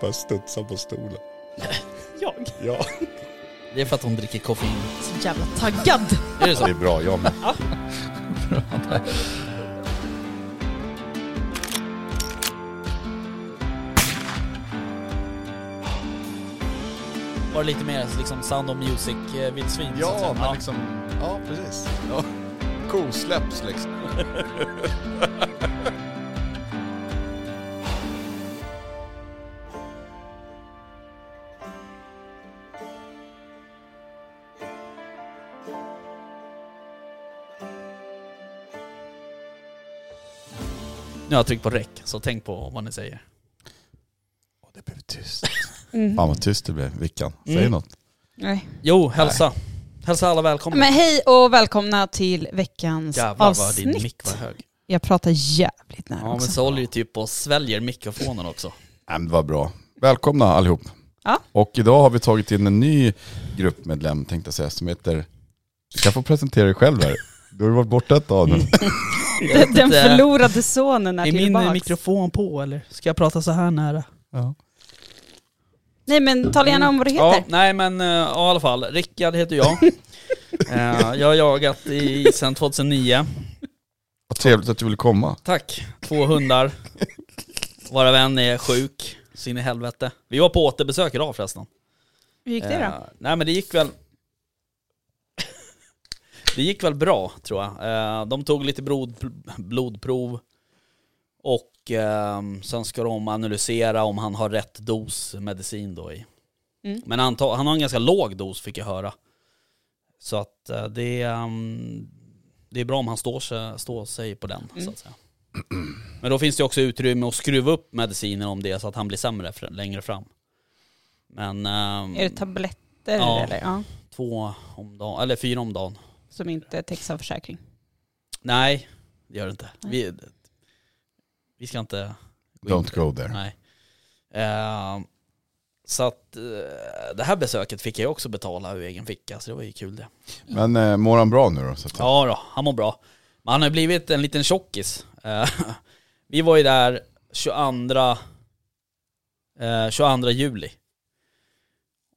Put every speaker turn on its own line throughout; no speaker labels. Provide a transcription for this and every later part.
Bara studsa på stolen.
Jag?
Ja.
Det är för att hon dricker koffein.
Så jävla taggad.
Är det
Det
så?
är bra, jag med.
Var det lite mer liksom sound of eh, music-vildsvin?
Ja, men liksom... Ja, precis. Ja. Kosläpps liksom.
Nu har jag tryckt på räck, så tänk på vad ni säger.
Åh, det blev tyst.
Mm.
Fan vad tyst det blev, Vickan. Säg
Mm.
något.
Nej.
Jo, hälsa. Hälsa alla välkomna.
Men hej och välkomna till veckans
Jävlar vad din
avsnitt.
mick var hög.
Jag pratar jävligt nära
Ja men
också.
så håller ju typ och sväljer mikrofonen också.
Nej men det var bra. Välkomna allihop.
Ja.
Och idag har vi tagit in en ny gruppmedlem tänkte jag säga som heter... Du kan få presentera dig själv här. Du har ju varit borta ett tag nu.
Mm.
Den, den
inte.
förlorade sonen är
Är min eh,
tillbaks.
mikrofon på eller ska jag prata så här nära?
Ja.
Nej men tala gärna om vad du
Ja,
heter.
nej men eh, ja, i alla fall. Rickard heter jag. Eh, jag har jagat i, sedan 2009.
Vad trevligt att du ville komma.
Tack. Två hundar. Varav en är sjuk. Så in i helvete. Vi var på återbesök idag förresten.
Hur gick det då?
Eh, nej men det gick väl... det gick väl bra tror jag. Eh, de tog lite blod, blodprov och ehm, sen ska de analysera om han har rätt dos medicin då i.
Mm.
Men han, tar- han har en ganska låg dos fick jag höra. Så att eh, det, är, ehm, det är bra om han står sig, står sig på den
Mm.
så att säga. Men då finns det också utrymme att skruva upp medicinen om det är så att han blir sämre fr- längre fram. Men... ehm,
Är det tabletter
Ja.
eller? Ja.
två om dagen, eller fyra om dagen.
Som inte täcks av försäkring.
Nej, det gör det inte. Vi, vi ska inte... gå in på
Don't
det.
go there.
Nej. Eh, så att eh, det här besöket fick jag också betala ur egen ficka, så det var ju kul det.
Men eh, mår han bra nu då? Så att,
Ja
ja.
då, han mår bra. Men han har blivit en liten tjockis. Eh, vi var ju där 22, eh, 22 juli.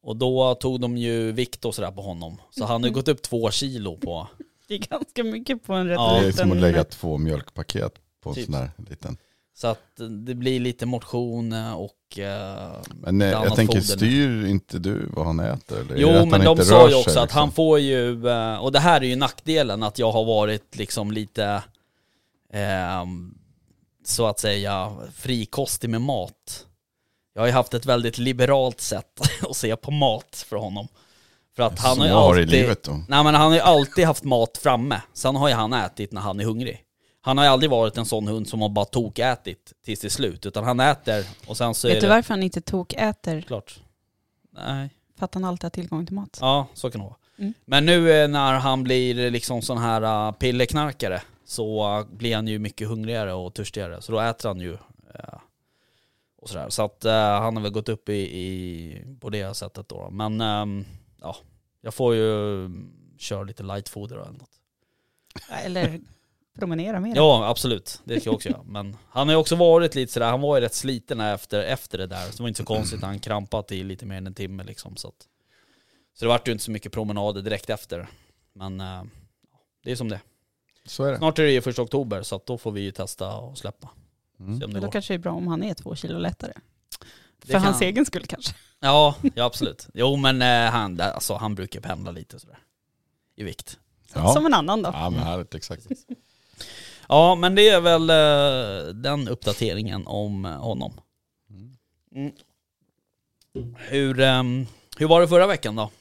Och då tog de ju vikt och sådär på honom. Så han har ju gått upp två kilo på...
Det är ganska mycket på en rätt
Ja.
Det är som att lägga två mjölkpaket på en
Typ.
sån där liten.
Så att det blir lite motion och... eh,
Men eh,
Lite
jag
annat
tänker,
foder.
styr inte du vad han äter? Eller är
jo
det att
men
han
de
inte
sa
rör
ju
sig,
också att
liksom?
han får ju, eh, och det här är ju nackdelen, att jag har varit liksom lite ehm, så att säga frikostig med mat. Jag har ju haft ett väldigt liberalt sätt att se på mat för honom. För att han
Som
har ju
jag har i
alltid,
livet då.
Nej men han har ju alltid haft mat framme. Sen har ju han ätit när han är hungrig. Han har ju aldrig varit en sån hund som har bara tokätit tills det är slut. Utan han äter och sen så är
Vet du
det...
varför han inte tok äter?
Klart. Nej.
För att han alltid har tillgång till mat.
Ja, så kan det vara.
Mm.
Men nu eh, när han blir liksom sån här eh, pilleknarkare så eh, blir han ju mycket hungrigare och törstigare. Så då äter han ju eh, och sådär. Så att eh, han har väl gått upp i, i, på det sättet då. Men ehm, ja, jag får ju mm, köra lite lightfoder eller något.
Eller promenera mer.
Ja, absolut. Det ska jag också göra. Men han har ju också varit lite sådär, han var ju rätt sliten här efter, efter det där. Så det var inte så konstigt, han krampat i lite mer än en timme liksom. Så, att, så det vart ju inte så mycket promenader direkt efter. Men eh, det är som det är.
Så är det.
Snart är det ju första oktober, så att då får vi ju testa och släppa.
Mm.
Se om det
Men Mm. då
går.
kanske det är bra om han är två kilo lättare.
Det
För hans
kan-
egen skull kanske.
Ja, ja absolut. Jo men eh, han, alltså, han brukar pendla lite sådär. I vikt.
Ja.
Som en annan då.
ja, men härligt, exakt.
Ja men det är väl eh, den uppdateringen om eh, honom. Mm. Hur, ehm, hur var det förra veckan då?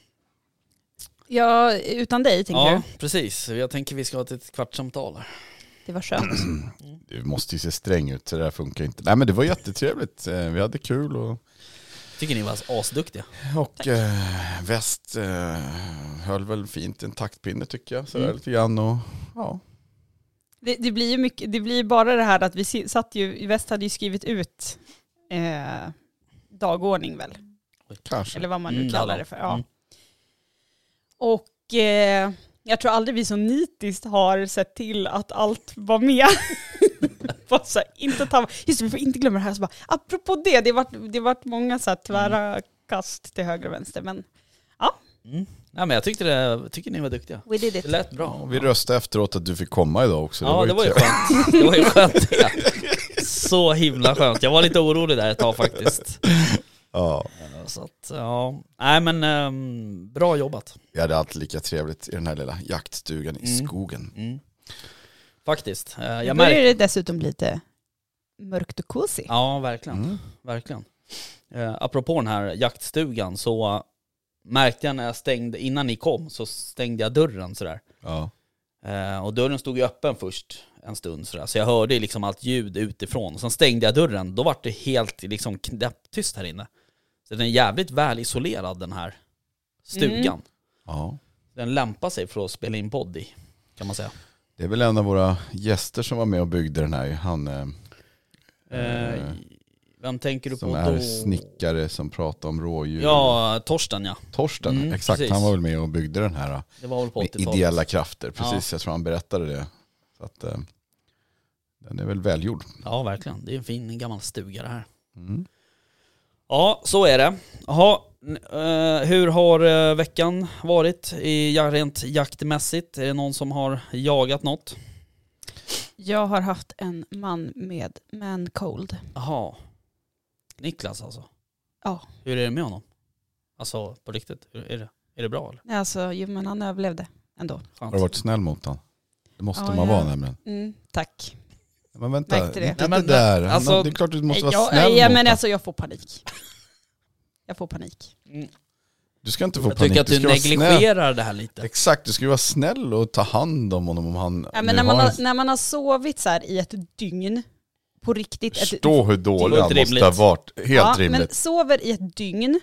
Ja, utan dig tänker
ja,
jag.
precis. Jag tänker vi ska ha ett litet kvartssamtal här.
Det var skönt.
Du Mm. måste ju se sträng ut, så det där funkar inte. Nej men det var jättetrevligt, Eh, vi hade kul och,
Tycker ni var asduktiga?
och eh, väst eh, höll väl fint en taktpinne tycker jag, sådär
Mm.
lite grann och ja.
Det, det blir ju mycket, det blir bara det här att vi si- satt ju, Väst hade ju skrivit ut eh, dagordning väl,
Kanske.
eller vad man nu
Mm,
kallar
hallå.
det för. Ja.
Mm.
Och eh, jag tror aldrig vi så nitiskt har sett till att allt var med. bara så här, inte ta, just det, vi får inte glömma det här. Så bara, apropå det, det vart, det vart många så här tvära kast till höger och vänster. Men
Mm. Nej, men jag tyckte det, tycker ni var duktiga.
we did it.
Det lät
Ja,
bra.
vi röstade efteråt att du fick komma idag också.
Ja, det var ju
trevligt.
skönt. Det var ju skönt det. Så himla skönt. Jag var lite orolig där ett tag faktiskt.
ja,
Så att, ja. Nej men, ehm, bra jobbat.
Vi hade alltid lika trevligt i den här lilla jaktstugan i
Mm.
skogen.
Mm. Faktiskt. Eh,
Nu
Jag
börjar
märker...
det dessutom bli lite mörkt och cozy.
Ja, verkligen.
Mm.
Verkligen. Eh, apropå den här jaktstugan så märkte jag när jag stängde, innan ni kom så stängde jag dörren sådär.
Ja.
Eh, och dörren stod ju öppen först en stund sådär, så jag hörde ju liksom allt ljud utifrån. Sen stängde jag dörren, då var det helt liksom knäpptyst här inne. Så den är jävligt väl isolerad den här stugan.
Mm.
ja.
Den lämpar sig för att spela in podd i, kan man säga.
Det är väl en av våra gäster som var med och byggde den här. Han eh,
Eh, vem tänker du
som
på
är
då?
snickare som pratar om rådjur.
Ja, Torsten ja.
Torsten,
Mm,
exakt.
precis.
Han var väl med och byggde den här. eh,
Det var väl på
Med
80-talet.
ideella krafter, precis. Jag tror han berättade det. Så att, eh, den är väl välgjord.
Ja, verkligen. Det är en fin gammal stuga det här.
Mm.
Ja, så är det. Jaha, n- eh, hur har eh, veckan varit i, ja, rent jaktmässigt? Är det någon som har jagat något?
Jag har haft en man med man cold.
Jaha. Niklas alltså?
Ja.
Hur är det med honom? Alltså på riktigt, hur är det, är det bra eller?
Nej, Alltså, jo, men han överlevde ändå.
Skönt.
Har du varit snäll mot honom? Det måste
Ja,
man
ja.
vara nämligen.
Mm, tack.
Men vänta,
Märkte det.
inte
Nej, men,
det där. Han-
alltså- eh,
det är klart du måste
Nej,
vara
jag,
snäll
Eh, ja,
mot
men
honom.
alltså jag får panik. Jag får panik.
Mm.
Du ska inte få
Jag tycker
panik,
att du
ska vara snäll.
negligerar det här lite.
Exakt, du ska ju vara snäll och ta hand om honom om han
Ja,
nu
men när, man
har
har, när man har sovit så här i ett dygn, på riktigt. Ett,
Förstå hur
Det
dålig
var
han
inte
måste ha
rimligt.
varit. Helt
ja, men
rimligt.
sover i ett dygn,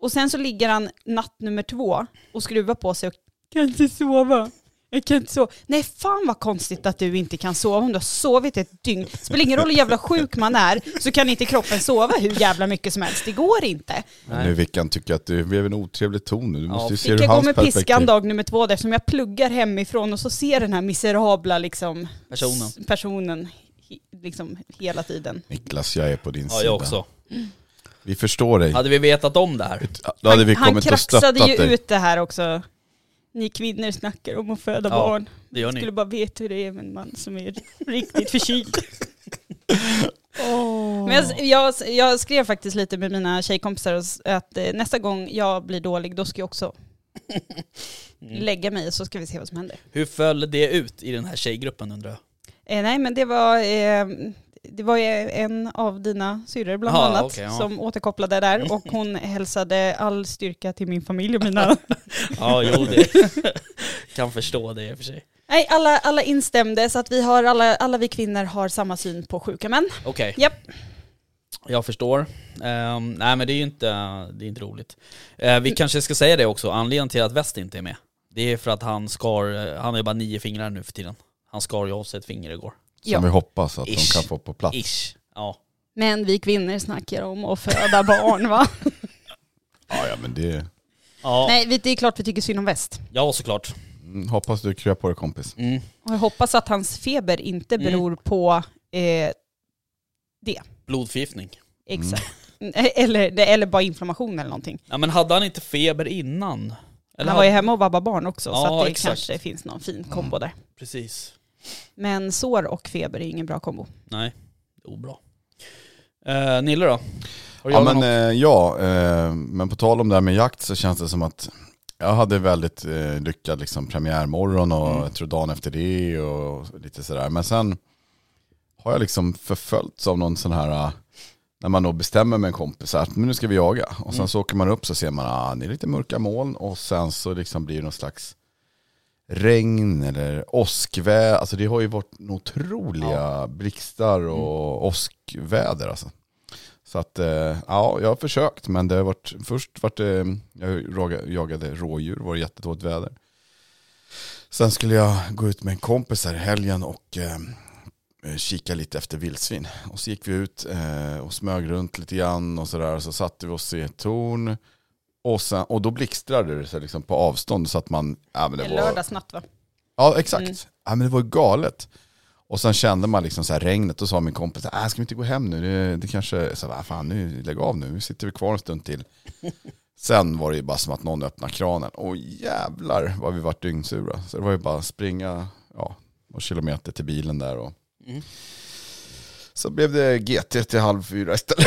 och sen så ligger han natt nummer två och skruvar på sig och kan inte sova. Jag kan inte sova. Nej fan vad konstigt att du inte kan sova om du har sovit i ett dygn. Spelar ingen roll hur jävla sjuk man är så kan inte kroppen sova hur jävla mycket som helst. Det går inte.
Men... Nu Vickan tycker jag att det blev en otrevlig ton nu. Du måste ju se
Fick
ur
jag gå
hans
med
perspektiv.
piskan dag nummer två där som jag pluggar hemifrån och så ser den här miserabla liksom,
Personen.
s- personen he- liksom hela tiden.
Niklas, jag är på din
Ja,
sida.
jag också.
Vi förstår dig.
Hade vi vetat om det här?
Då hade vi
han
kommit och stöttat
kraxade ju
dig.
ut det här också. Ni kvinnor snackar om att föda
Ja,
barn.
Det gör
Jag skulle
ni.
bara veta hur det är med en man som är riktigt förkyld. Men jag, jag, jag skrev faktiskt lite med mina tjejkompisar att eh, nästa gång jag blir dålig då ska jag också
Mm.
lägga mig så ska vi se vad som händer.
Hur föll det ut i den här tjejgruppen undrar jag?
Eh, nej, men det var, eh, det var ju en av dina syrror bland
Ja,
annat
okej, ja. Mm.
som återkopplade där och hon hälsade all styrka till min familj och mina...
Ja, jo det kan förstå det i och för sig.
nej, alla, alla instämde så att vi har, alla, alla vi kvinnor har samma syn på sjuka män.
Okej.
Japp.
Jag förstår. Ehm, nej men det är ju inte, det är inte roligt. Eh, vi kanske ska säga det också, anledningen till att West inte är med, det är för att han skar, eh, han har ju bara nio fingrar nu för tiden. Han skar ju av sig ett finger igår.
Ja.
Som vi hoppas att
Ish.
de kan få på plats.
Ish. Ja.
Men vi kvinnor snackar om att föda barn va?
Ja, ja, men det...
Ja,
Nej, vi- det är klart vi tycker synd om väst.
ja såklart.
Mm, Hoppas du kryar på dig kompis.
Mm.
Och jag hoppas att hans feber inte
Mm.
beror på eh,
Blodförgiftning.
exakt.
Mm.
Eller, eller bara inflammation eller någonting.
Ja men hade han inte feber innan? Eller
han var ju
hade-
hemma och vabbade barn också så
Ja,
att det
exakt. Mm.
kanske finns någon fin kombo där.
Precis.
Men sår och feber är ingen bra kombo.
Nej, det är obra. Eh, Nille då? Har du
Ja,
jagat
men,
något?
eh, ja eh, men på tal om det här med jakt så känns det som att jag hade väldigt eh, lyckad liksom, premiärmorgon och
Mm.
jag tror dagen efter det och lite sådär. Men sen har jag liksom förföljts av någon sån här, eh, när man då bestämmer med en kompis så här, att men nu ska vi jaga. Och sen
Mm.
så åker man upp så ser man att ah, det är lite mörka moln och sen så liksom blir det någon slags regn eller åskväder. Alltså det har ju varit otroliga blixtar och åskväder alltså. Så att, eh, ja, jag har försökt men det har varit, först vart det, jag raga- jagade rådjur, var det jättedåligt väder. Sen skulle jag gå ut med en kompis här i helgen och eh, kika lite efter vildsvin. Och så gick vi ut eh, och smög runt lite grann och sådär, så satte vi oss i ett torn. Och, sen, och då blixtrade det sig liksom på avstånd så att man... Ja, men
Det
det
är
var,
lördagsnatt va?
Ja, exakt.
Mm.
Ja, men det var ju galet. Och sen kände man liksom så här regnet och sa min kompis, äh, ska vi inte gå hem nu? Det, det kanske, så här, "Va fan nu, lägg av nu, nu sitter vi kvar en stund till. Sen var det ju bara som att någon öppnade kranen. Och jävlar vad vi vart dyngsura. Så det var ju bara att springa ja, några kilometer till bilen där. Och...
Mm.
Så blev det GT till halv fyra istället.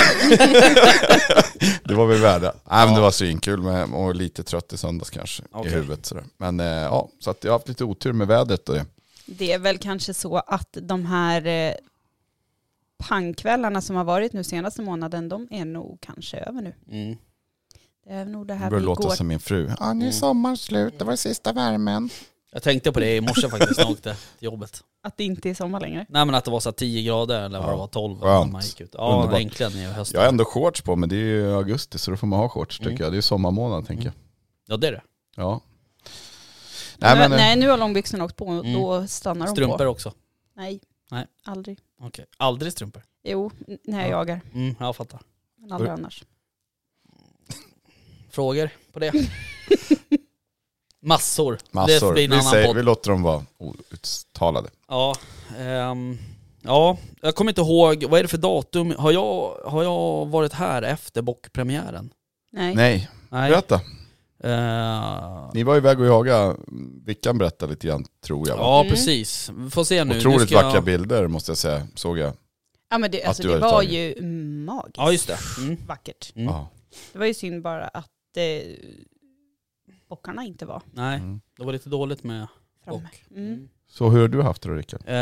det var vi värda. Nej, men det var svinkul med, och lite trött i söndags kanske
Okej.
i huvudet. Sådär. Men eh, ja, så att jag har haft lite otur med vädret och det.
Det är väl kanske så att de här eh, pangkvällarna som har varit nu senaste månaden, de är nog kanske över nu.
Mm.
Det är nog det
Det
här vi
börjar låta
går...
som min fru. Ja, nu är
Mm.
sommaren slut, det var sista värmen.
Jag tänkte på det i morse faktiskt när jag åkte till jobbet.
Att det inte är sommar längre.
Nej men att det var så här 10 grader eller vad
Ja,
det var, 12
skönt.
när man gick ut. Ja
Underbart.
äntligen i höst.
Jag har ändå shorts på men det är ju augusti så då får man ha shorts tycker
Mm.
jag. Det är ju sommarmånad tänker jag.
Ja det är det.
Ja.
Nej,
Nej, men, eh,
nej nu har långbyxorna åkt på och
Mm.
då stannar de
Strumpor
på.
också.
Nej.
Nej.
aldrig.
Okej. Aldrig strumpor.
Jo, n- när jag
Ja.
jagar.
Mm, jag fattar.
Men aldrig annars.
Frågor på det? Massor.
massor.
Det blir en
Vi,
annan
säger,
podd.
vi låter dem vara outtalade.
Ja, ehm, ja, jag kommer inte ihåg, vad är det för datum? Har jag, har jag varit här efter bockpremiären?
Nej.
Nej,
Nej.
berätta.
Eh,
Ni var ju iväg och jaga. Vickan berättade lite grann tror jag. va?
ja,
Mm.
precis. Vi får se nu. nu
Otroligt
ska jag- Mm.
vackra bilder måste jag säga, såg jag.
Ja men det, alltså,
du
det
hade
var
tagit.
ju magiskt
Ja, just det. Mm.
vackert.
Mm.
Ja.
Det var ju synd bara att eh, bockarna inte var
Nej,
Mm.
det var lite dåligt med
framme.
bock.
Mm.
Så hur har du haft det då Rickard?
Eh,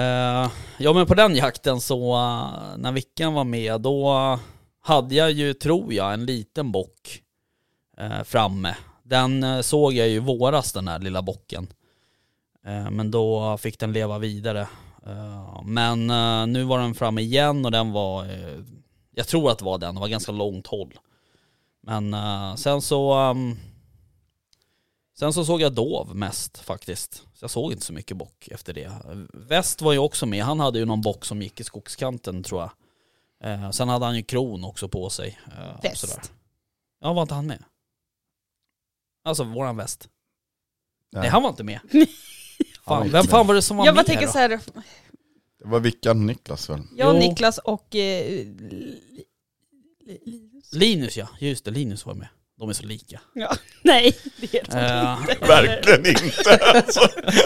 ja men på den jakten så, eh, när Vickan var med, då eh, hade jag ju, tror jag, en liten bock eh, framme. Den eh, såg jag ju i våras, den här lilla bocken. Eh, men då fick den leva vidare. Eh, men eh, nu var den framme igen och den var, eh, jag tror att det var den, det var ganska långt håll. Men eh, sen så, ehm, Sen så såg jag dov mest faktiskt. Så jag såg inte så mycket bock efter det. Väst var ju också med. Han hade ju någon bock som gick i skogskanten tror jag. Eh, sen hade han ju kron också på sig. Eh, och
Väst.
sådär. Ja, var inte han med? Alltså våran väst. Nej, han var inte med.
var
Fan,
inte
vem
med.
fan var det som var
Jag bara
med
tänker
då?
så här,
Det var Vickan och Niklas väl?
jag och
Jo.
Niklas och eh, Li- Li- Linus.
Linus ja, just det. Linus var med. De är så lika.
Ja. Nej, det heter han
Eh,
inte.
Verkligen inte alltså.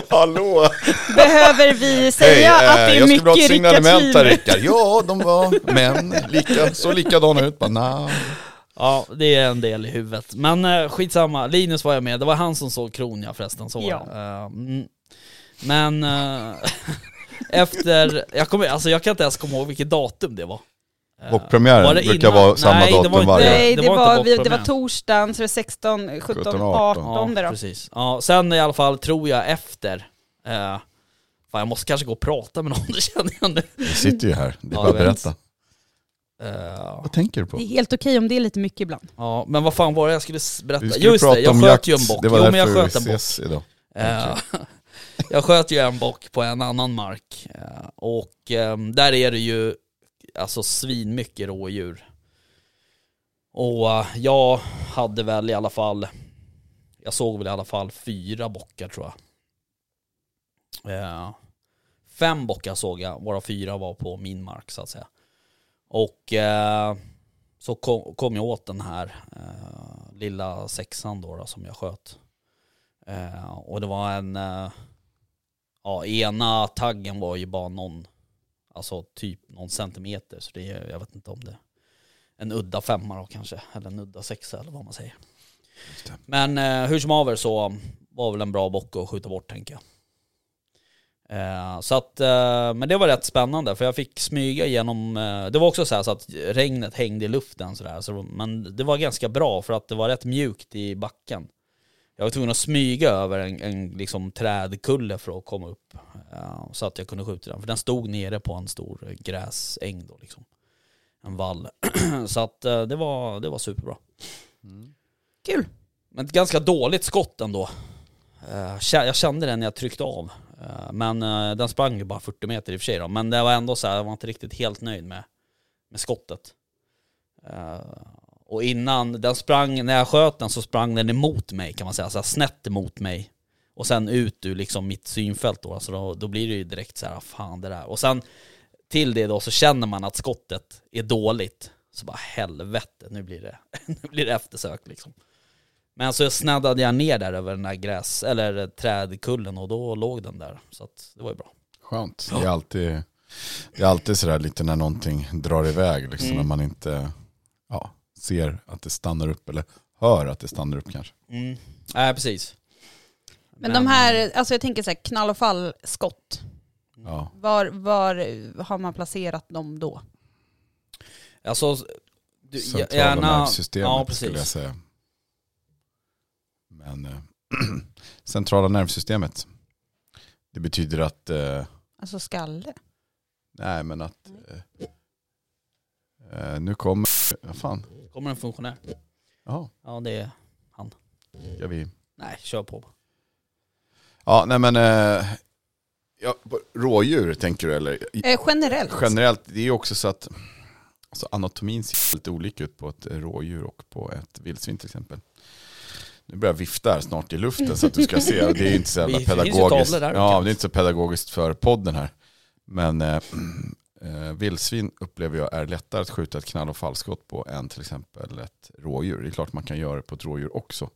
Hallå!
Behöver vi
Hej,
säga att det är
eh, jag skulle vilja ha ett
mycket
signalement här
Rickards liv?
Rickard. Ja, de var män, lika, så likadana ut. Bara, nah.
ja, det är en del i huvudet. Men eh, skitsamma, Linus var jag med. Det var han som såg kron ja förresten. Så var
Ja.
det. Eh, mm. Men eh, efter, jag, kommer, alltså, jag kan inte ens komma ihåg vilket datum det var. Eh,
Bockpremiären
var det
brukar
innan?
vara samma
Nej, det
datum
var inte-
varje år.
Nej,
det
det
var inte
var, vi,
bort
det var
med.
torsdagen, så det är 16, 17,
17,
18,
18
det då.
precis. Ja, sen i alla fall tror jag efter, eh, fan jag måste kanske gå och prata med någon, det känner jag nu.
Vi sitter ju här, det är
Ja,
bara att
jag vet.
berätta.
Eh,
Vad tänker du på?
Det är helt okej om det är lite mycket ibland.
ja, men vad fan var det jag skulle s- berätta?
Du skulle
Just
prata
det, jag
om
sköt
jakt.
ju en bock.
Det var
jo, men jag
därför
sköt en
vi
bock.
ses idag.
Eh, jag sköt ju en bock på en annan mark eh, och ehm, där är det ju alltså svinmycket rådjur. Och eh, jag hade väl i alla fall, jag såg väl i alla fall fyra bockar tror jag. Eh, Fem bockar såg jag, våra fyra var på min mark så att säga. Och eh, så kom, kom jag åt den här eh, lilla sexan då, då som jag sköt. Eh, och det var en, eh, ja ena taggen var ju bara någon, alltså typ någon centimeter. Så det är, jag vet inte om det, en udda femma då kanske, eller en udda sexa eller vad man säger.
Just det.
Men eh, hur som haver så var väl en bra bock att skjuta bort tänker jag. Eh, så att, eh, men det var rätt spännande för jag fick smyga igenom, eh, det var också så, här så att regnet hängde i luften sådär. Så, men det var ganska bra för att det var rätt mjukt i backen. Jag var tvungen att smyga över en, en liksom trädkulle för att komma upp. eh, så att jag kunde skjuta den. För den stod nere på en stor gräsäng då liksom. En vall. så att eh, det, var, det var superbra.
Kul.
Men ett ganska dåligt skott ändå. Eh, kä- Jag kände den när jag tryckte av. Eh, Men eh, den sprang ju bara 40 meter i och för sig då. Men det var ändå så här, jag var inte riktigt helt nöjd med, med skottet. Eh, Och innan den sprang, när jag sköt den så sprang den emot mig kan man säga, så här, snett emot mig. och sen ut ur liksom mitt synfält då, alltså då, då blir det ju direkt så här, "Ah, fan det där. Och sen till det då så känner man att skottet är dåligt. Så bara helvete, nu blir det, nu blir det eftersök liksom. Men så snaddade jag ner där över den där gräs, eller trädkullen och då låg den där. Så att det var ju bra.
Skönt. Det är alltid, det är alltid sådär lite när någonting drar iväg, liksom,
Mm.
när man inte ja, ser att det stannar upp eller hör att det stannar upp kanske.
Mm. Nej, precis.
Men de här, alltså jag tänker så här knall och fall-skott.
Ja.
Var, var har man placerat dem då?
Alltså, du,
Centrala
gärna...
nervsystemet
Ja,
skulle jag
precis.
säga. Men eh, centrala nervsystemet, det betyder att eh,
Alltså skalle?
Nej men att... Eh, eh, nu kommer... Vad fan?
Kommer en funktionär?
Jaha,
Ja, det är...
ska vi...
Nej, kör på.
Ja nej men... Eh, ja, på rådjur tänker du eller? I-
Eh, generellt?
Generellt, det är ju också så att... Alltså anatomin ser lite olika ut på ett rådjur och på ett vildsvin till exempel. Nu börjar jag vifta här snart i luften så att du ska se. Det är ju inte så jävla
Det finns ju
pedagogiskt.
tavlor där också.
Ja, det är inte så pedagogiskt för podden här. Men eh, eh, vildsvin upplever jag är lättare att skjuta ett knall och fallskott på än till exempel ett rådjur. Det är klart man kan göra det på ett rådjur också.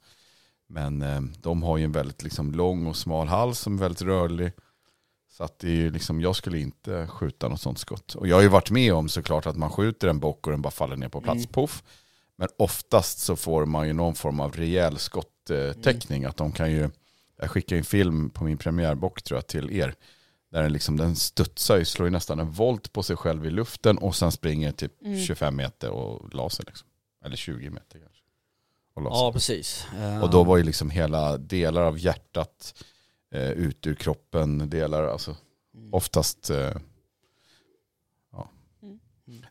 Men eh, de har ju en väldigt liksom, lång och smal hals som är väldigt rörlig. Så att det är ju liksom, jag skulle inte skjuta något sånt skott. Och jag har ju varit med om såklart att man skjuter en bock och den bara faller ner på plats,
Mm.
poff. Men oftast så får man ju någon form av rejäl skottäckning. Att de kan ju, jag skickade ju en film på min premiärbock tror jag till er. Där den, liksom, den studsar ju, slår ju nästan en volt på sig själv i luften och sen springer typ
Mm.
25 meter och laser liksom. Eller 20 meter kanske. Och laser.
Ja, precis. Eh,
Och då var ju liksom hela delar av hjärtat eh, ut ur kroppen, delar, alltså
Mm.
oftast... Eh, ja.
Mm.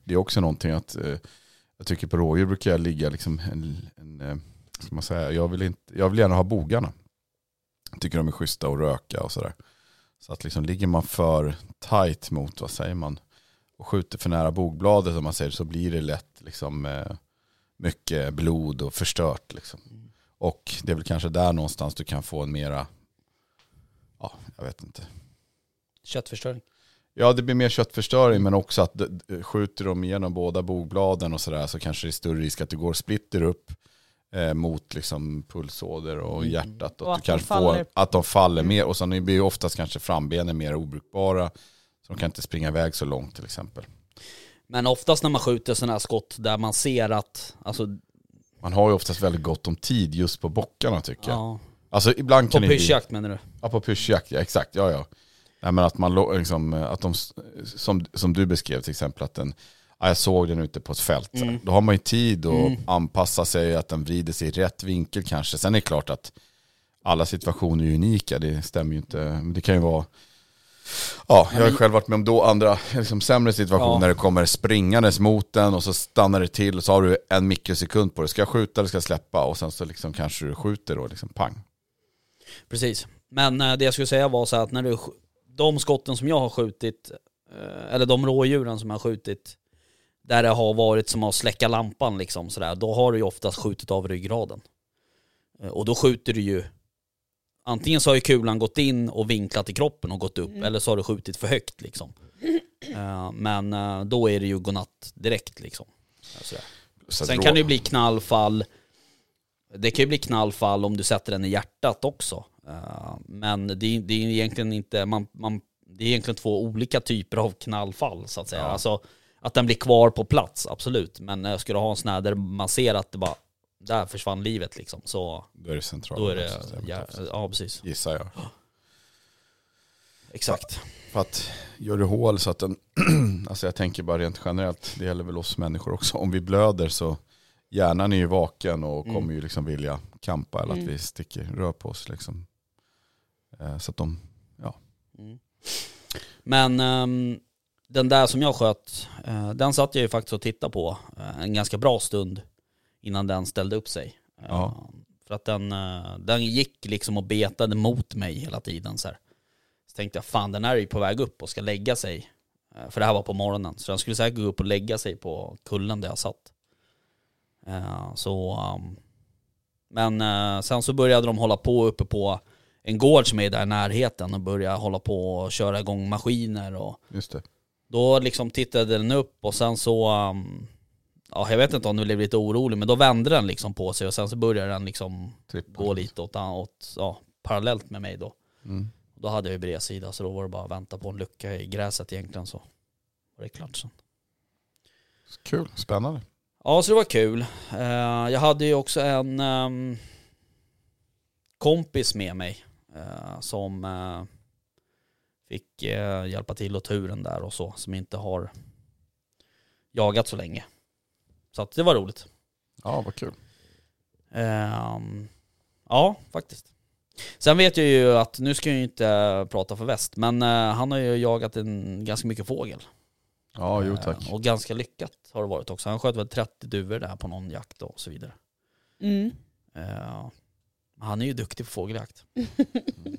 Det är också någonting att... Eh, jag tycker på rådjur brukar jag ligga liksom en... en eh, vad ska man säga? Jag vill, inte, jag vill gärna ha bogarna. Jag tycker de är schyssta att röka och sådär. Så att liksom ligger man för tight mot, vad säger man, och skjuter för nära bogbladet om man säger så blir det lätt liksom eh, mycket blod och förstört liksom.
Mm.
Och det är väl kanske där någonstans du kan få en mera, ja jag vet inte,
Köttförstöring.
Ja, det blir mer köttförstöring men också att d- d- skjuter de igenom båda bogbladen och sådär så kanske det är större risk att det går splitter upp eh, mot liksom pulsåder och
Mm.
hjärtat. Och,
Och
att,
att de
du kanske
faller.
får, att de faller
Mm.
mer och sen blir ju oftast kanske frambenen mer obrukbara. Så de kan inte springa iväg så långt till exempel.
Men oftast när man skjuter sådana här skott där man ser att, alltså,
Man har ju oftast väldigt gott om tid just på bockarna tycker jag.
ja,
Alltså ibland
på
kan det ju bli-
pyrschjakt menar du?
Ja, på pyrschjakt, ja exakt. Ja, ja. Nej, men att man lo- liksom, att de, s- som, som du beskrev till exempel, att den, ja, jag såg den ute på ett fält. så här.
Mm.
Då har man ju tid att
Mm.
anpassa sig, att den vrider sig i rätt vinkel kanske. Sen är det klart att alla situationer är unika, det stämmer ju inte. Men det kan ju vara, ja, jag har ju själv varit med om då andra liksom, sämre situationer
Ja.
när det kommer springandes mot den och så stannar det till och så har du en mikrosekund på dig. Ska jag skjuta eller ska jag släppa? Och sen så liksom kanske du skjuter då, liksom pang.
Precis. Men eh, det jag skulle säga var så här att när du, sk- de skotten som jag har skjutit, eh, eller de rådjuren som jag har skjutit, där det har varit som att släcka lampan liksom sådär, då har du ju oftast skjutit av ryggraden. Eh, Och då skjuter du ju, antingen så har ju kulan gått in och vinklat i kroppen och gått upp,
Mm.
eller så har du skjutit för högt liksom. Eh, Men eh, då är det ju godnatt direkt liksom. Eh, Sådär.
Så att
Sen
rå-
kan det ju bli knallfall. Det kan ju bli knallfall om du sätter den i hjärtat också. Eh, Men det är, det är egentligen inte, man, man, det är egentligen två olika typer av knallfall så att säga.
Ja.
Alltså att den blir kvar på plats, absolut. Men eh, ska du ha en sån här där man ser att det bara, där försvann livet liksom. Så
Då är det centralt.
då är det, ja, ja precis.
Gissar jag.
Exakt.
För att gör du hål så att den, alltså jag tänker bara rent generellt, det gäller väl oss människor också, om vi blöder så hjärnan är ju vaken och
Mm.
kommer ju liksom vilja kampa eller att
Mm.
vi sticker, rör på oss liksom. Eh, Så att de,
Mm. Men ehm, den där som jag sköt, eh, den satt jag ju faktiskt och tittade på eh, en ganska bra stund innan den ställde upp sig. Eh,
Ja.
För att den, eh, den gick liksom och betade mot mig hela tiden så här. Så tänkte jag, fan den här är ju på väg upp och ska lägga sig. Eh, För det här var på morgonen, så den skulle säkert gå upp och lägga sig på kullen där jag satt. Eh, Så, ehm, men eh, sen så började de hålla på uppe på en gård som är där i närheten och började hålla på och köra igång maskiner och
Just det.
då liksom tittade den upp och sen så, um, ja jag vet inte om den blev lite orolig men då vände den liksom på sig och sen så började den liksom
Trippel.
gå lite åt, åt ja, parallellt med mig då.
Mm.
Då hade jag ju bredsida så då var det bara att vänta på en lucka i gräset egentligen så var det klart sen.
Kul, spännande.
Ja, så det var kul. Eh, jag hade ju också en ehm, kompis med mig eh, som eh, fick eh, hjälpa till åt turen där och så, som inte har jagat så länge. Så att det var roligt.
Ja, vad kul.
Ehm, ja, faktiskt. Sen vet jag ju att, nu ska jag ju inte prata för väst, men eh, han har ju jagat en, ganska mycket fågel.
Ja, jo tack.
Eh, Och ganska lyckat har det varit också. Han sköt väl 30 duvor där på någon jakt och så vidare.
Mm.
Eh, han är ju duktig på fågeljakt. Mm.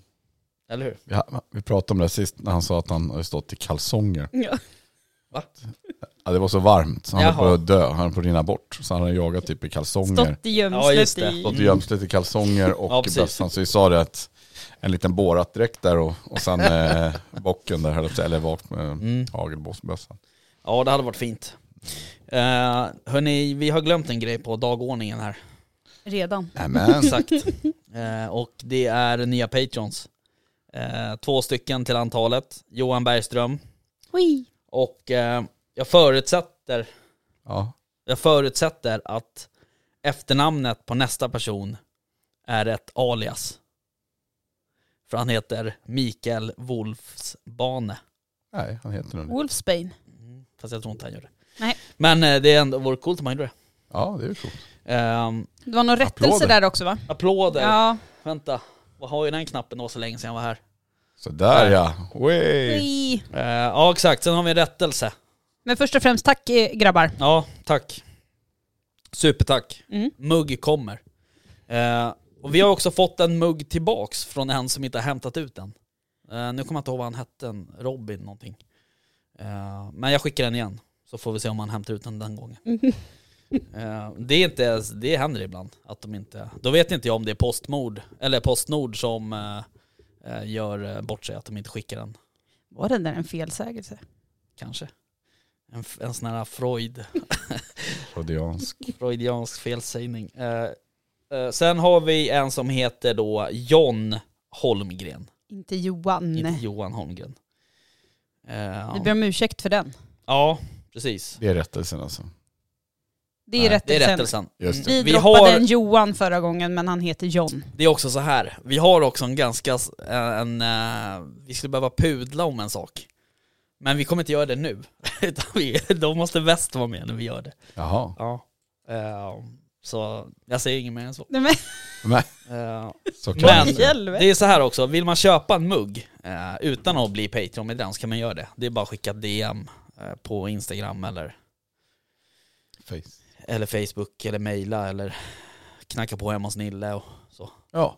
Eller hur?
Vi, ha- vi pratade om det här sist när han sa att han hade stått i kalsonger.
Ja.
Ja, det var så varmt så han höll
Jaha.
på att dö, han höll på att rinna bort. Så han hade jagat typ i kalsonger.
Stått i
Ja, just
gömslet
det.
i...
Stått i gömslet i kalsonger
Ja,
och i
precis.
bössan. Så vi sa det att en liten borat-dräkt där och, och sen eh, bocken där, höll jag på att säga, eller eh, vakt med
Mm.
hagelbåsbössan.
Ja, det hade varit fint. Eh, hörni, vi har glömt en grej på dagordningen här.
Redan.
Nämen,
Exakt. Eh, och det är nya Patreons. Eh, två stycken till antalet. Johan Bergström.
Oj.
Och eh, jag förutsätter,
ja.
jag förutsätter att efternamnet på nästa person är ett alias. För han heter Mikael Wolfsbane.
Nej, han heter nog det.
Wolfsbane.
Mm, Fast jag tror inte han gör det.
Nej.
Men eh, det är ändå, vore coolt om han gjorde det.
Ja, det är ju coolt.
Ehm,
Det var någon rättelse
Applåder.
där också va?
applåder.
Ja.
Vänta, vad har ju den knappen? Det var så länge sedan jag var här.
Så där ja. Way.
Oj.
Eh, ja, exakt. Sen har vi en rättelse.
Men först och främst tack eh, grabbar.
Ja, tack. Supertack.
Mm.
Mugg kommer. Eh, och vi har också fått en mugg tillbaks från en som inte har hämtat ut den. Eh, nu kommer jag inte ihåg vad han hette, en Robin någonting. Eh, men jag skickar den igen, så får vi se om han hämtar ut den den gången. Eh, det, är inte, ens- det händer ibland att de inte... Då vet inte jag om det är Postmord, eller Postnord som eh, eh, gör eh, bort sig, att de inte skickar den.
Var det där en felsägelse?
Kanske. En, f- en sån här Freud...
Freudiansk.
Freudiansk felsägning. Eh, eh, sen har vi en som heter då John Holmgren.
Inte Johan.
Inte Johan Holmgren. Eh,
Vi ber om ursäkt för den.
ja, precis.
Det är rättelsen alltså.
Det är
Nej,
rättelsen.
Det är rättelsen.
Just
Vi,
Vi
droppade
har-
en Johan förra gången men han heter John.
Det är också så här, vi har också en ganska, s- en, eh, vi skulle behöva pudla om en sak. Men vi kommer inte göra det nu. Utan vi, då måste väst vara med när vi gör det.
Jaha.
Ja. Eh, så jag säger inget mer än så.
Nej, men,
Men,
Eh,
så kan
Men
det se.
helvete.
det är så här också, vill man köpa en mugg eh, utan att bli Patreon-medlem så kan man göra det. Det är bara att skicka DM eh, på Instagram eller,
Face.
eller Facebook eller mejla eller knacka på hemma hos Nille. Och,
Ja.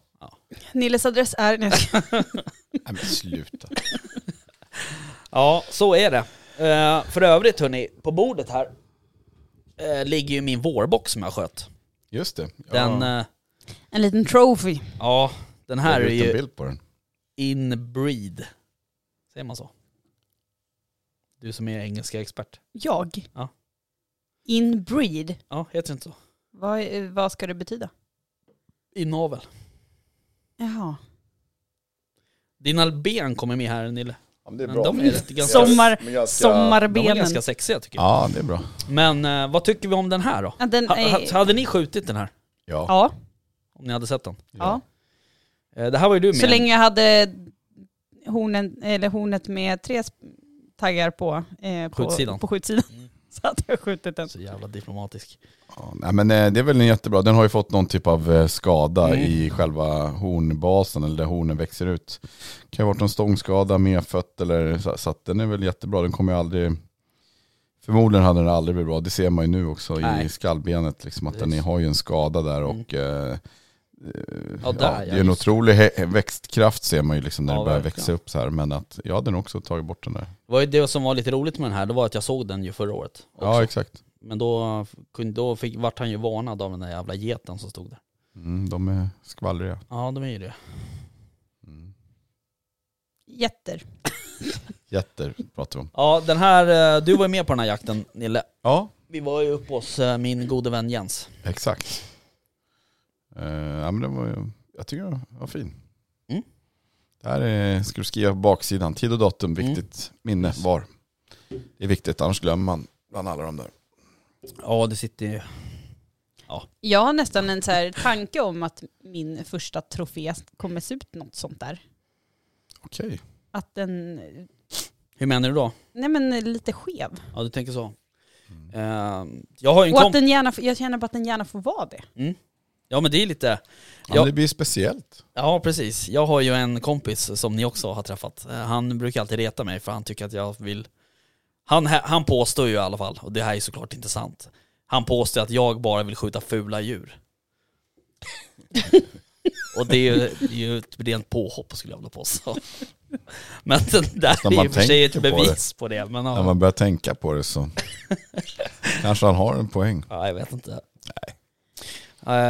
Nilles adress är... Nej, jag ska-
Nej men sluta.
ja, så är det. Eh, för övrigt hörni, på bordet här eh, ligger ju min vårbox som jag sköt.
Just det. Ja.
Den, ja, eh,
en liten trophy.
ja den här är
Jag har en
ju
bild på den.
inbreed. Säger man så? Du som är engelska expert.
Jag?
Ja.
Inbreed?
Ja, heter det inte så?
Vad, eh, vad ska det betyda?
Inavel.
Jaha.
Dina ben kommer med här Nille.
det
Men de är lite ganska,
Sommar,
de är
sommarbenen.
ganska sexiga tycker jag.
Ja, det är bra.
Men eh, vad tycker vi om den här då?
Ja, den
Ha,
är...
ha, hade ni skjutit den här?
Ja.
Ja,
Om ni hade sett den?
ja.
Eh, det här var ju du med.
Så länge jag hade hornen, eller hornet med tre sp- taggar på, eh, på
Skjutsidan.
På skjutsidan.
Mm.
Så hade jag skjutit den.
Så jävla diplomatisk.
Ja, nej, men eh, det är väl en jättebra. Den har ju fått någon typ av eh, skada
Mm.
i själva hornbasen eller där hornen växer ut. Det kan ju ha varit någon stångskada, medfött eller så, så att den är väl jättebra. Den kommer ju aldrig, förmodligen hade den aldrig blivit bra. Det ser man ju nu också
Nej.
i skallbenet liksom att den
Precis.
har ju en skada där
Mm.
och eh, eh,
Ja, där,
ja,
ja,
det är en
just.
otrolig he- växtkraft ser man ju liksom när
Ja,
det börjar
verkligen.
växa upp så här. Men att jag hade nog också tagit bort den där.
Det var ju det som var lite roligt med den här, det var att jag såg den ju förra året. Också.
Ja exakt.
Men då, kunde- då fick, vart han ju varnad av den där jävla geten som stod där.
Mm, de är skvallriga.
Ja, de är ju det.
Jätter.
Jätter pratar vi om.
Ja, den här, eh, du var ju med på den här jakten Nille.
Ja,
Vi var ju uppe hos eh, min gode vän Jens.
exakt. Eh, ja, men den var, ju- jag tycker den var fin.
Mm.
Det här är, ska du skriva på baksidan. Tid och datum,
Mm.
viktigt minne var. Det är viktigt, annars glömmer man bland alla de där.
Ja, det sitter ju...
Jag har nästan en så här tanke om att min första trofé kommer se ut något sånt där.
Okej.
Att den,
Hur menar du då?
nej men lite skev.
Ja, du tänker så. Eh, jag har ju en
Och att
kompis...
den gärna, får- jag känner bara att den gärna får vara det.
Ja, men det är lite...
Ja,
Ja.
men Det blir speciellt.
Ja, precis. Jag har ju en kompis som ni också har träffat. Eh, Han brukar alltid reta mig för han tycker att jag vill... Han, han påstår ju i alla fall, och det här är såklart inte sant. Han påstår att jag bara vill skjuta fula djur. och det är ju- det är ju ett rent påhopp skulle jag vilja påstå. Men det där
När
är
man
ju för sig ett
tänker på
bevis på det. men ja.
När man börjar tänka på det så kanske han har en poäng.
ja, jag vet inte. Nej.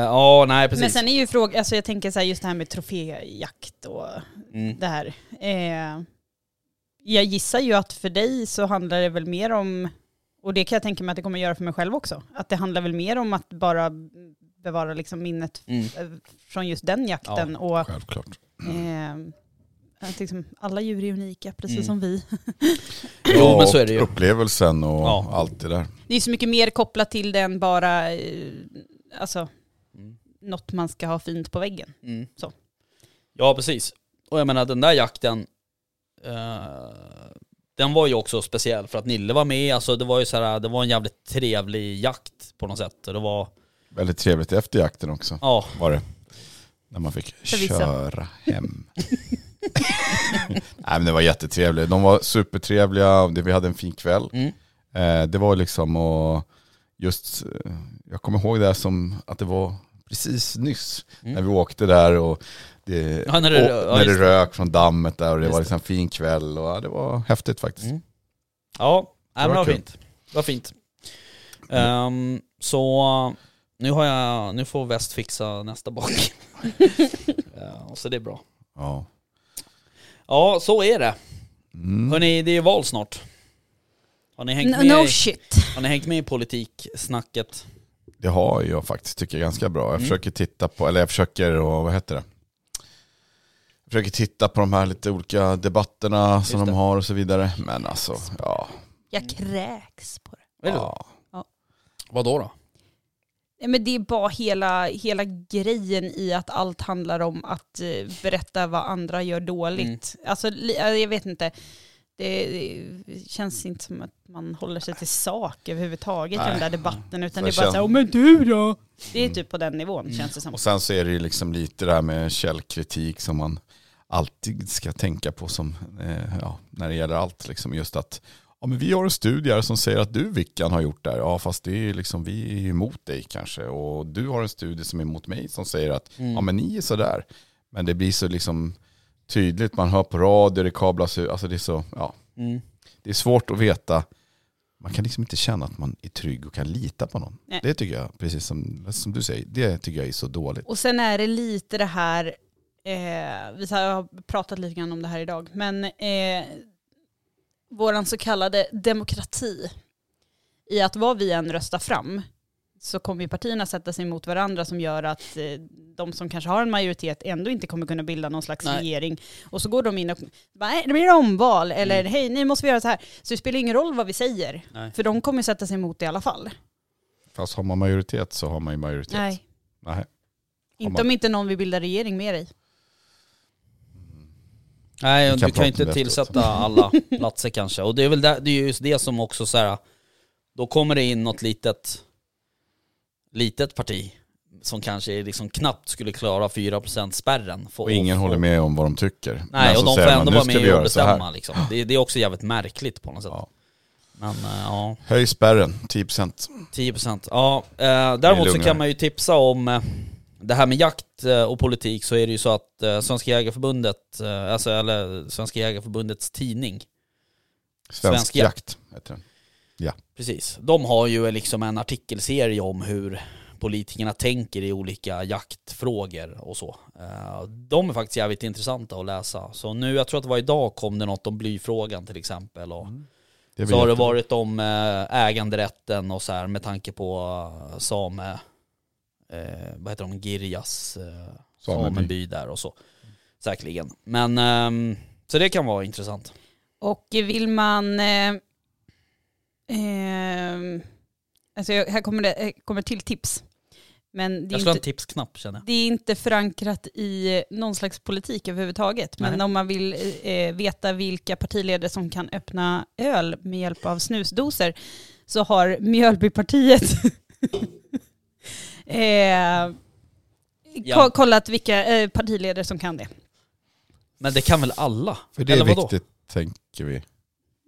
Ja, nej
Men
precis.
sen är ju frågan, alltså jag tänker så här, just det här med troféjakt och
Mm.
det här. Eh, jag gissar ju att för dig så handlar det väl mer om, och det kan jag tänka mig att det kommer göra för mig själv också, att det handlar väl mer om att bara bevara liksom minnet
Mm.
eh, från just den jakten. Och,
Självklart.
eh, att liksom, alla djur är unika, precis
Mm.
som vi.
Jo, men så är det ju.
och Upplevelsen och
Ja.
allt det där.
Det är så mycket mer kopplat till det än bara eh, alltså,
Mm.
något man ska ha fint på väggen.
Mm.
Så.
Ja, precis. Och jag menar den där jakten, eh, den var ju också speciell för att Nille var med. Alltså det var ju så här, det var en jävligt trevlig jakt på något sätt. Och det var,
Väldigt trevligt efter jakten också
ja,
var det. När man fick
vissa.
köra hem. Nej men det var jättetrevligt. De var supertrevliga, Det- vi hade en fin kväll.
mm,
Eh, det var liksom och just, eh, jag kommer ihåg det här som att det var precis nyss
Mm.
när vi åkte där och det,
Ja, när det-
och,
ja,
när det
just
rök från dammet där och det
Just
var
det.
liksom en fin kväll och ja, det var häftigt faktiskt.
mm. ja nej, men det
var
var
kul.
fint. Det var fint. Ehm, så nu, har jag, nu får väst fixa nästa bak. Eh, så det är bra.
Ja.
Ja, så är det.
Mm.
Hörni, det är val snart. Har ni hängt med,
No, no
i-
shit.
har ni hängt med i politiksnacket?
Det har jag faktiskt, tycker jag är ganska bra. Jag
Mm.
försöker titta på, eller jag försöker, och vad heter det? Jag försöker titta på de här lite olika debatterna som
Just
de
det.
har och så vidare. Men alltså, ja.
Jag kräks på det.
Är det så?
ja.
Vad då? då?
Nej, men det är bara hela, hela grejen i att allt handlar om att eh, berätta vad andra gör dåligt.
Mm.
Alltså, li- eh, jag vet inte. Det, det känns inte som att man håller sig till sak överhuvudtaget i
Nej.
den där debatten. Utan det är
Så
bara
jag
så här,
känner-
"Ja, men du då? Det är
Mm.
typ på den nivån känns det som.
Och sen så är det ju liksom lite det här med källkritik som man alltid ska tänka på som, eh, ja, när det gäller allt. Liksom just att ja, men vi har en studie här som säger att du Vickan har gjort det här. Ja fast det är liksom, vi är ju emot dig kanske. Och du har en studie som är emot mig som säger att ja men ni är sådär. Men det blir så liksom tydligt, man hör på radio, det kablas ut, alltså det är så, ja,
Mm.
det är svårt att veta. Man kan liksom inte känna att man är trygg och kan lita på någon.
Nej.
Det tycker jag, precis som, som du säger, det tycker jag är så dåligt.
Och sen är det lite det här, eh, vi har pratat lite grann om det här idag, men eh, våran så kallade demokrati i att vad vi än röstar fram så kommer ju partierna sätta sig mot varandra som gör att eh, de som kanske har en majoritet ändå inte kommer kunna bilda någon slags
Nej.
regering. Och så går de in och bara, nej det blir omval eller hej nu måste vi göra så här. Så det spelar ingen roll vad vi säger
Mm. Nej.
för de kommer ju sätta sig emot det i alla fall.
Fast har man majoritet så har man ju majoritet.
Nej.
Nej. Om
Inte
man-
om inte någon vill bilda regering med dig.
Nej,
Vi
du kan
kan
ju
prata om
inte
det efteråt.
tillsätta alla platser kanske. Och det är väl där, det är just det som också så här, då kommer det in något litet, litet parti som kanske är liksom knappt skulle klara 4% spärren. Få-
Och ingen
få-
håller med om vad de tycker.
Nej,
så
och de får
säger man,
ändå
"Nu
vara
ska vi
med
göra
och
så här."
bestämma liksom. Det, det är också jävligt märkligt på något sätt.
Ja.
Men eh, ja,
Höj spärren, 10%.
10%. Ja, eh, däremot så
lugnare.
kan man ju tipsa om eh, det här med jakt eh, och politik så är det ju så att eh, Svenska Jägareförbundet, eh, alltså eller Svenska Jägareförbundets tidning,
Svensk,
Svensk
jakt. heter den.
Precis. De har ju liksom en artikelserie om hur politikerna tänker i olika jaktfrågor och så. Eh, De är faktiskt jävligt intressanta att läsa. Så nu, jag tror att det var idag kom det något om blyfrågan till exempel. Och
Det är
så har
väl
det
jätte-
varit om eh, äganderätten och så här med tanke på eh, same, eh, vad heter de, Girjas eh,
Sameby.
sameby där och så. Säkerligen. Men, ehm, så det kan vara intressant.
Och vill man... Eh, ehm, alltså jag, här kommer det här kommer till tips. Men det
Jag
är,
slår
ju
en
inte,
tipsknapp känner jag.
det är inte förankrat i någon slags politik överhuvudtaget. Men
Nej.
om man vill eh, veta vilka partiledare som kan öppna öl med hjälp av snusdoser så har Mjölbypartiet eh, ko- kollat vilka eh, partiledare som kan det.
Men det kan väl alla?
För det är
Eller vadå?
viktigt, tänker vi.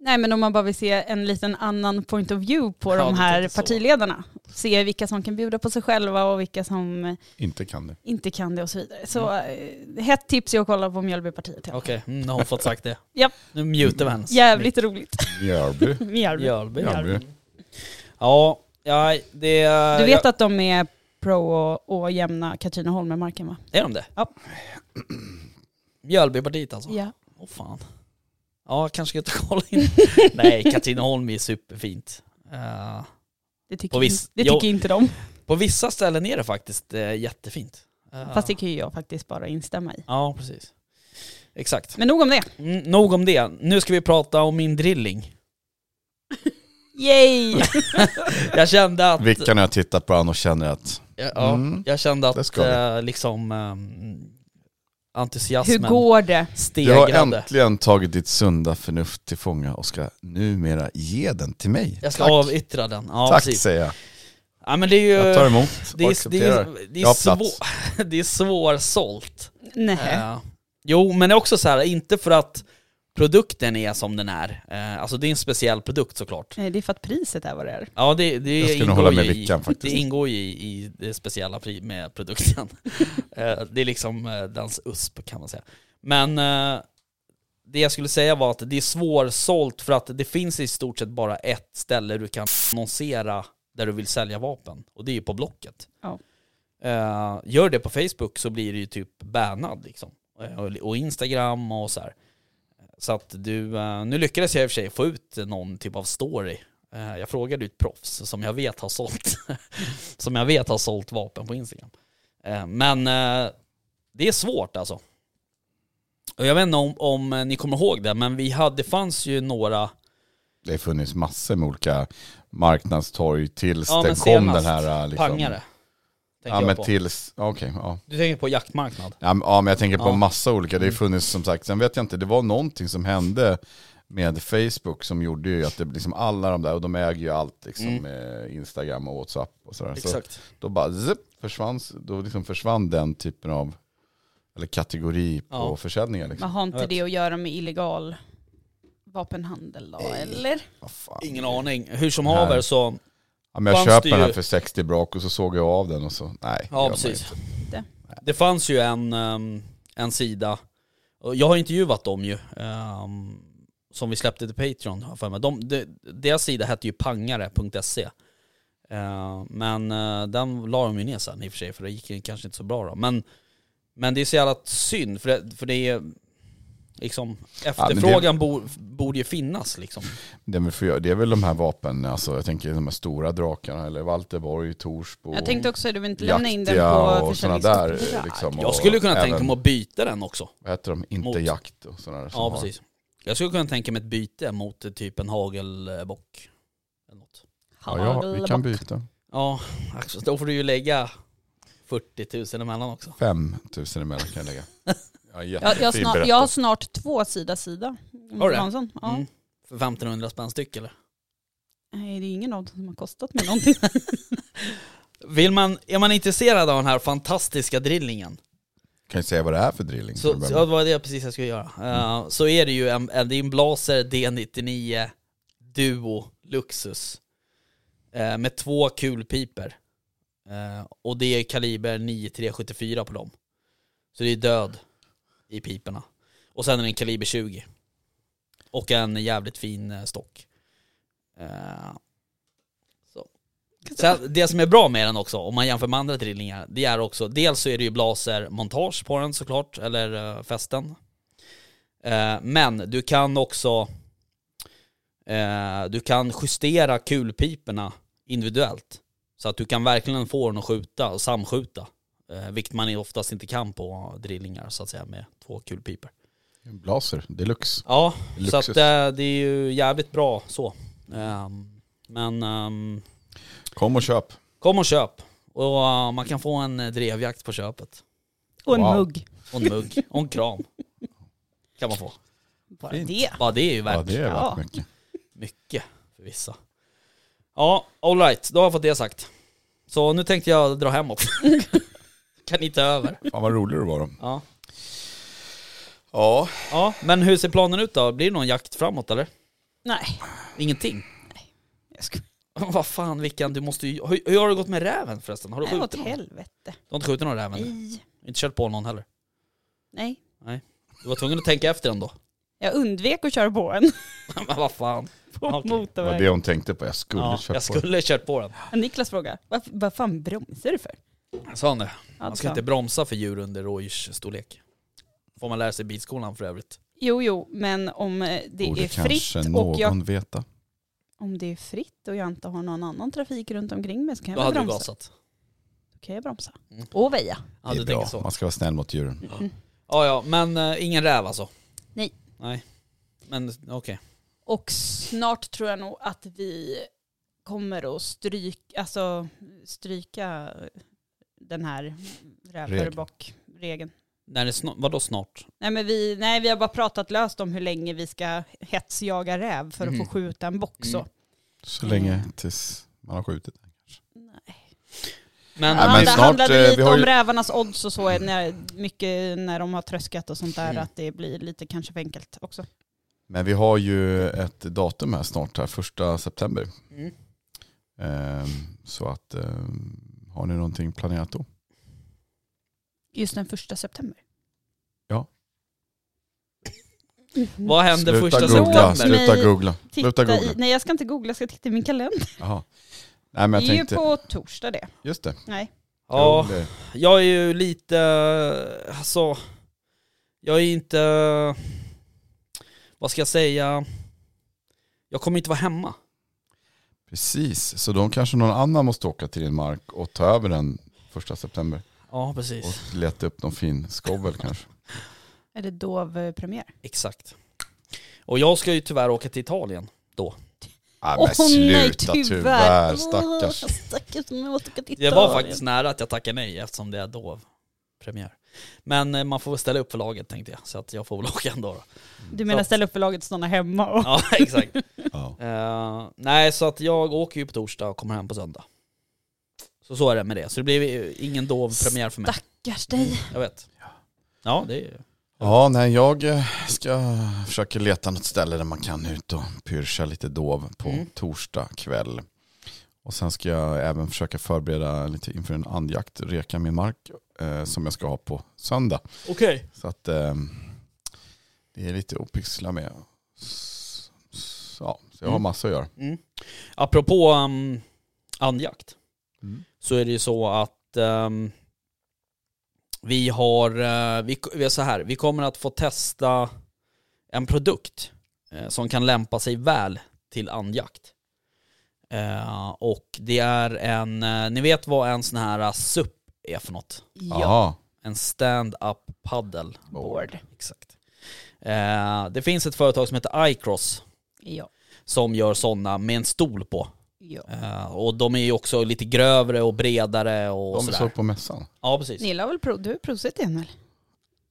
Nej men om man bara vill se en liten annan point of view på
Ja,
de
du
här
tänker så.
partiledarna. Se vilka som kan bjuda på sig själva och vilka som
Inte kan det.
inte kan det och så vidare. Så eh, hett tips är att kolla på Mjölbypartiet. ja.
Mm. Okej, mm, nu har hon fått sagt det.
Japp.
Nu mutar vi hennes.
Jävligt roligt.
Mjölby.
Mjölby.
Mjölby.
Mjölby.
Ja, ja, det...
Du vet
ja,
att de är pro och, och jämna Katrineholm med marken va?
Är de det?
Ja.
Mjölbypartiet alltså?
Ja.
Åh fan. Ja, jag kanske ska ta och kolla in. Nej, Katrineholm är superfint. Eh,
Det tycker,
På viss-
det
Jo.
tycker inte de.
på vissa ställen är det faktiskt eh, jättefint. Eh,
Fast det kan ju jag faktiskt bara instämma i.
Ja, precis. Exakt.
Men nog om det.
Mm, nog om det. Nu ska vi prata om min drilling.
Yay!
Jag kände att...
Vickan och jag tittar på honom och känner att
Ja, ja,
Mm.
Jag kände
Det
att
ska vi.
eh, liksom ehm,
Hur
entusiasmen
går det?
du har
stegrade.
äntligen tagit ditt sunda förnuft till fånga och ska numera ge den till mig.
jag ska
Tack.
avyttra den. Ja,
Tack
precis.
säger jag.
Ja, men det är ju...
Jag tar emot
det
och
är, det är,
accepterar.
det
Jag
är,
har plats.
svår, det är svårsålt.
Nej.
Eh, jo, men det är också så här, inte för att produkten är som den är. Eh, alltså det är en speciell produkt såklart.
Nej, Det är för att priset är vad det är.
Ja, det, det
Jag skulle nog
ingår
hålla med
ju i-
Vickan faktiskt.
Det ingår ju i, i det speciella pri- med produkten. Eh, det är liksom eh, dans USP kan man säga. Men eh, det jag skulle säga var att det är svårsålt för att det finns i stort sett bara ett ställe du kan annonsera där du vill sälja vapen. Och det är ju på Blocket.
Ja.
Eh, gör det på Facebook så blir du ju typ bannad liksom. Eh, och- Och Instagram och så här. Så att du, eh, nu lyckades jag i och för sig få ut någon typ av story. Eh, Jag frågade ut proffs som jag vet har sålt, som jag vet har sålt vapen på Instagram. Eh, Men eh, det är svårt alltså. Och jag vet inte om, om eh, ni kommer ihåg det, men vi hade, det fanns ju några,
Det har funnits massor med olika marknadstorg tills
Ja,
den
men
kom den
senast
här... Liksom,
pangare. Tänker
Ja
jag
men
på.
tills, ja, okej. ja.
Du tänker på jaktmarknad?
Ja, men- ja men jag tänker på
Ja.
massa olika, det har
Mm.
funnits som sagt, sen vet jag inte, det var någonting som hände med Facebook som gjorde ju att det liksom alla de där, och de äger ju allt liksom, eh, Instagram och Whatsapp och sådär. Så
Mm. Exakt.
då bara zip, försvann, då liksom försvann den typen av, eller kategori på
Ja.
försäljningar liksom.
Men har inte
Jag vet.
det att göra med illegal vapenhandel då,
Nej.
eller?
Vad fan.
Ingen aning. Hur som haver så,
Ja, men jag
Fanns det
köper den
ju-
här för 60 brak och så såg jag av den och så, nej. det gör
ja
man
precis.
inte.
Det fanns ju en, ehm, en sida, och jag har intervjuat dem ju, ehm, som vi släppte till Patreon har jag för mig. De, de, deras sida hette ju pangare.se. Eh, men eh, den la de ju ner sen i och för sig, för det gick ju kanske inte så bra då. Men, men det är så jävla synd, för det, för det är liksom,
men det-
efterfrågan bo, borde ju finnas liksom.
Det är, väl för, det är väl de här vapen, alltså, jag tänker de här stora drakarna, eller Valterborg, Torsbo.
Jag tänkte också att du vill inte lämna in den
Jaktiga
på
och sådana där.
försäljningsstoppet.
eh, Liksom,
Jag
och
skulle kunna tänka
även-
mig att byta den också.
Vad heter de? Inte
Mot.
jakt och sådana där. som
Ja
har-
precis. Jag skulle kunna tänka mig ett byte mot eh, typ en hagelbock. Eller något.
Ja, ja, vi kan byta.
Ja, Axel, då får du ju lägga 40 000 emellan också.
5 000 emellan kan jag lägga. Ja,
Jag,
jättefin
jag, snar,
berättelse.
jag har snart två sida sida.
Har du det?
Hansson, Ja.
Mm. För 1500 spänn styck eller?
Nej, det är ingen av dem som har kostat mig någonting.
Vill man, är man intresserad av den här fantastiska drillingen,
Kan ju säga vad det är för drilling.
så,
för att
så
börja
ja, det
med.
var det precis jag skulle göra. Eh, så är det ju en, en, det är en Blaser D99 Duo Luxus eh, med två kulpiper. Eh, och det är kaliber 9.374 på dem. Så det är död i piporna. Och sen är det en kaliber 20. Och en jävligt fin eh, stock. Eh, så. Sen, det som är bra med den också, om man jämför med andra drillingar, det är också, dels så är det ju blasermontage på den såklart, eller eh, fästen. Eh, men du kan också, eh, du kan justera kulpiporna individuellt. Så att du kan verkligen få den att skjuta och samskjuta. Eh, vilket man oftast inte kan på drillingar så att säga med två kulpipor.
Blaser deluxe.
Ja, så
Luxus.
att eh, det är ju jävligt bra så. Ehm, men ehm,
Kom och köp.
kom och köp. Och eh, man kan få en eh, drevjakt på köpet.
Och en
Wow.
mugg.
Och en mugg, och en kram. Kan man få.
Bara
Fint.
det.
Bara det är ju värt
Ja det är
Ja.
värt mycket.
mycket för vissa. Ja, alright, då har jag fått det sagt. Så nu tänkte jag dra hemåt. kan ni ta över?
Fan vad rolig du var då.
Ja.
Ja.
ja, men hur ser planen ut då? Blir det någon jakt framåt eller?
Nej,
Ingenting?
jag ska...
Vad fan Vickan, du måste ju... Hur, hur har det gått med räven förresten? Har du
Nej, åt
skjutit någon?
helvete.
Du har inte skjutit någon räven?
Nej.
Inte kört på någon heller?
Nej.
Du var tvungen att tänka efter ändå.
Jag undvek att köra på en
Men vad fan.
på
Okej.
Det var det
motorvägen.
hon tänkte på. Jag skulle
Ja,
köpa
jag skulle ha kört på den.
Niklas frågar, vad, vad fan bromsar du för?
Sa han det? Man
Alltså.
ska inte bromsa för djur under rådjursstorlek. Får man lära sig i bilskolan för övrigt.
Jo, jo, men om eh, det
Borde
är
kanske
fritt
någon
och jag,
veta.
om det är fritt och jag inte har någon annan trafik runt omkring mig så kan
Då
jag väl
hade du
bromsa.
gasat.
Då kan jag bromsa.
Mm.
Och väja.
Ja, du
det är bra.
tänker så.
Man ska vara snäll mot djuren.
Mm.
Ja, ja, men eh, ingen räv alltså?
Nej.
Nej. Men okej.
Och snart tror jag nog att vi kommer att stryk, alltså, stryka den här rävförbock-regeln.
När det snart, vadå snart?
Nej, men vi, nej, vi har bara pratat löst om hur länge vi ska hetsjaga räv för att
Mhm.
få skjuta en bock. Så.
Mm.
Så länge tills man har skjutit.
Men,
Nej,
Ja,
men
det
snart, eh,
handlade
vi
lite
har ju-
om rävarnas odds och så, när, mycket när de har tröskat och sånt där,
Mm.
att det blir lite kanske för enkelt också.
Men vi har ju ett datum här snart här, första september.
Mm.
Ehm, Så att ehm, har ni någonting planerat då?
Just den första september.
Ja.
Vad händer första
googla,
september?
sluta
Nej.
googla. Sluta
Mm-hmm. Titta
googla.
i, nej jag ska inte googla, jag ska titta i min kalender.
Jaha. Nej men
det
jag
är ju
tänkte,
på torsdag det.
just det.
Nej.
Ja,
Jo, det-
jag är ju lite, eh, alltså, jag är inte, vad ska jag säga, jag kommer inte vara hemma.
Precis, så då kanske någon annan måste åka till din mark och ta över den första september.
Ja, precis.
Och leta upp någon fin skovel kanske.
Är det dovpremiär?
Exakt. Och jag ska ju tyvärr åka till Italien.
Nej
Åh,
men
nej,
sluta tyvärr stackars.
Åh, stackars mig, jag måste åka till
Det var
Italien.
faktiskt nära att jag tackade nej eftersom det är dov premiär. Men eh, man får väl ställa upp för laget tänkte jag, så att jag får väl åka ändå då.
Du menar
Så-
ställa upp för laget och stanna hemma? Och...
Ja, exakt.
Ja.
Eh, nej, så att jag åker ju på torsdag och kommer hem på söndag. Så så är det med det. Så det blir ju ingen dov premiär för mig.
Stackars dig.
Jag vet. Ja, det är ju...
Ja, nej, jag eh, ska försöka leta något ställe där man kan ut och pyrscha lite dov på
Mm.
torsdag kväll. Och sen ska jag även försöka förbereda lite inför en andjakt, reka min mark eh, som jag ska ha på söndag.
Okej.
Så att eh, det är lite att pyssla med. S- s- Ja, så jag har
Mm.
massa att göra.
Mm. Apropå um, andjakt
Mm.
så är det ju så att ehm, vi har, eh, vi, vi är så här, vi kommer att få testa en produkt eh, som kan lämpa sig väl till andjakt. Eh, och det är en, eh, ni vet vad en sån här eh, SUP är för något?
Jaha.
En stand-up paddle.
Board.
Exakt. Eh, det finns ett företag som heter iCross
Ja.
som gör sådana med en stol på.
ja.
Eh, och de är ju också lite grövre och bredare och
De
sådär.
såg på mässan.
Ja, precis.
Nilla har väl prov, du har provsett igen väl?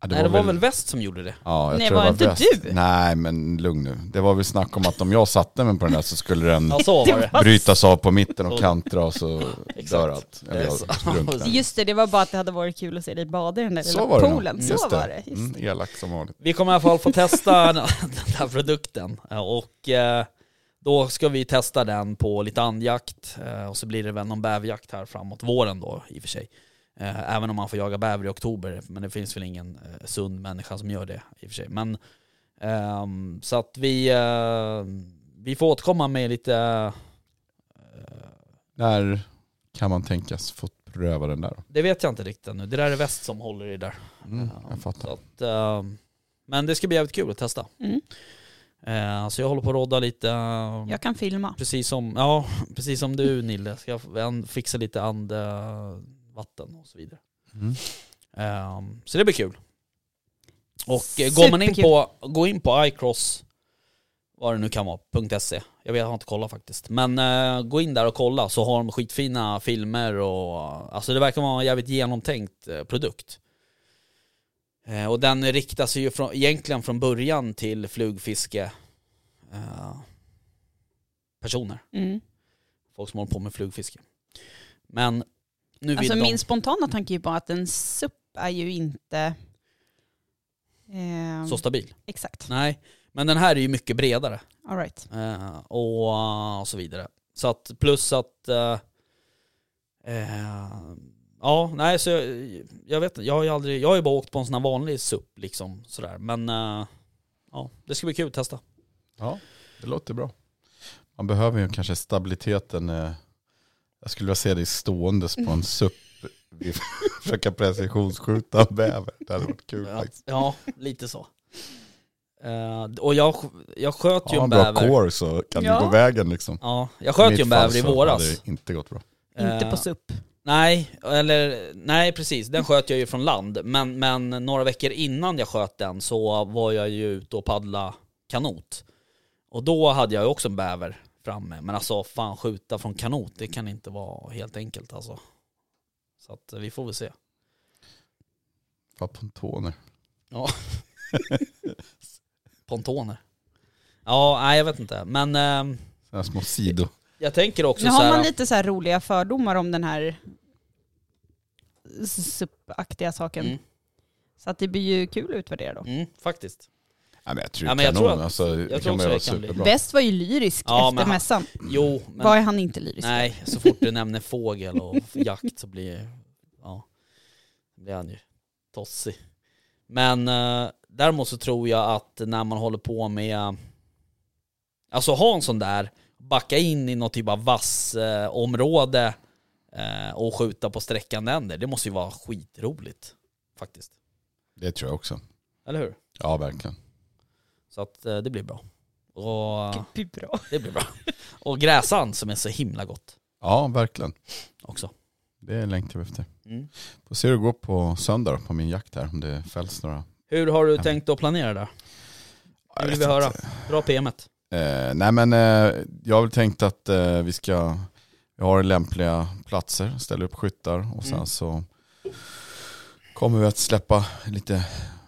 Ja,
Nej, det var väl väst som gjorde det?
Ja, jag
Nej,
tror
var
det
inte
väst.
du?
Nej, men lugn nu. Det var väl snack om att om jag satte mig på den där så skulle den...
Ja, så var det.
brytas av på mitten och
Så.
kantra och så
Exakt.
dör allt. Eller
Det är
jag
så.
drunknar.
Just det, det var bara att det hade varit kul att se dig bada i den där
Så
lilla
var det nog.
poolen. Så
Just
var det. Just
Mm,
det.
elak som vanligt.
Vi kommer i alla fall få testa den den här produkten. Eh, Och eh, då ska vi testa den på lite andjakt. eh, Och så blir det väl någon bävjakt här framåt våren då i och för sig. Eh, Även om man får jaga bäver i oktober. Men det finns väl ingen eh, sund människa som gör det i och för sig. Men ehm, så att vi, eh, vi får återkomma med lite eh,
När kan man tänkas få pröva den där?
Det vet jag inte riktigt ännu. Det där är väst som håller i det där.
Mm,
Ja,
jag fattar.
Så att, ehm, men det ska bli jävligt kul att testa.
Mm.
Eh, så jag håller på att rodda lite. ehm,
Jag kan filma.
Precis som, ja, precis som du Nille, ska jag an- fixa lite andvatten och så vidare.
Mm.
Ehm, så det blir kul. Och eh, går man in på, gå in på iCross, vad det nu kan vara, .se. Jag, vet, jag har inte kollat faktiskt. Men eh, gå in där och kolla så har de skitfina filmer och alltså det verkar vara en jävligt genomtänkt eh, produkt. Eh, och den riktar sig ju från, egentligen från början till flugfiske eh, personer.
Mm.
Folk som håller på med flugfiske. Men nu vill
Alltså
de...
min spontana tanke är ju bara att en SUP är ju inte... ehm,
Så stabil.
exakt.
Nej, men den här är ju mycket bredare
All right.
eh, och, och så vidare. Så att plus att... eh, eh, ja, nej så jag, jag vet inte. jag har ju aldrig, jag har ju bara åkt på en sån här vanlig SUP liksom sådär. Men eh, ja, det ska bli kul att testa.
Ja, det låter bra. Man behöver ju kanske stabiliteten. eh, Jag skulle vilja se dig ståendes på en SUP. Vi försöka precisionsskjuta en bäver. Det hade varit kul
Ja,
faktiskt.
ja lite så. Eh, och jag, jag sköt ju
Har
Typ en
man bra
bäver.
core så kan
Ja.
du gå vägen liksom.
Ja, jag
I
sköt
mitt
ju en
fall
bäver i
så
våras.
hade det inte gått bra.
Inte
Eh,
på SUP.
Nej, eller nej precis. Den sköt jag ju från land. Men, men några veckor innan jag sköt den så var jag ju ute och paddla kanot. Och då hade jag ju också en bäver framme. Men alltså fan skjuta från kanot, det kan inte vara helt enkelt alltså. Så att eh, vi får väl se.
Fan pontoner.
Pontoner. Ja, nej jag vet inte. Men ehm,
Sådana små sido.
jag tänker också
Nu
så
har
här.
man lite så här roliga fördomar om den här SUP-aktiga saken.
Mm.
Så att det blir ju kul att utvärdera då.
Mm, faktiskt.
Ja, men jag tror
Ja, men
kanon.
jag tror att-
alltså,
tror
det kan
också
vara
det kan bli.
superbra.
Väst var ju lyrisk
Ja, men
efter
han-
mässan.
Jo, men
Var är han inte lyrisk?
Nej, så fort du nämner fågel och jakt så blir, ja, då blir han ju tossig. Men eh, däremot så tror jag att när man håller på med, alltså ha en sån där, backa in i något typ av vassområde eh, område, eh, och skjuta på sträckande änder, det måste ju vara skitroligt faktiskt.
Det tror jag också.
Eller hur?
Ja, verkligen.
Så att eh, det blir bra. Och
Det är bra.
det blir bra. Och gräsand som är så himla gott
Ja, verkligen.
också.
Det längtar vi efter.
Mm.
Får se hur det går på söndag då, på min jakt här. Om det fälls några.
Hur har du
Ja.
tänkt att planera där?
Jag
vill
vet
vi
inte.
höra. Dra PMet.
Eh, nej men eh, jag har väl tänkt att eh, vi ska, vi har lämpliga platser, ställa upp skyttar och sen
Mm.
så kommer vi att släppa lite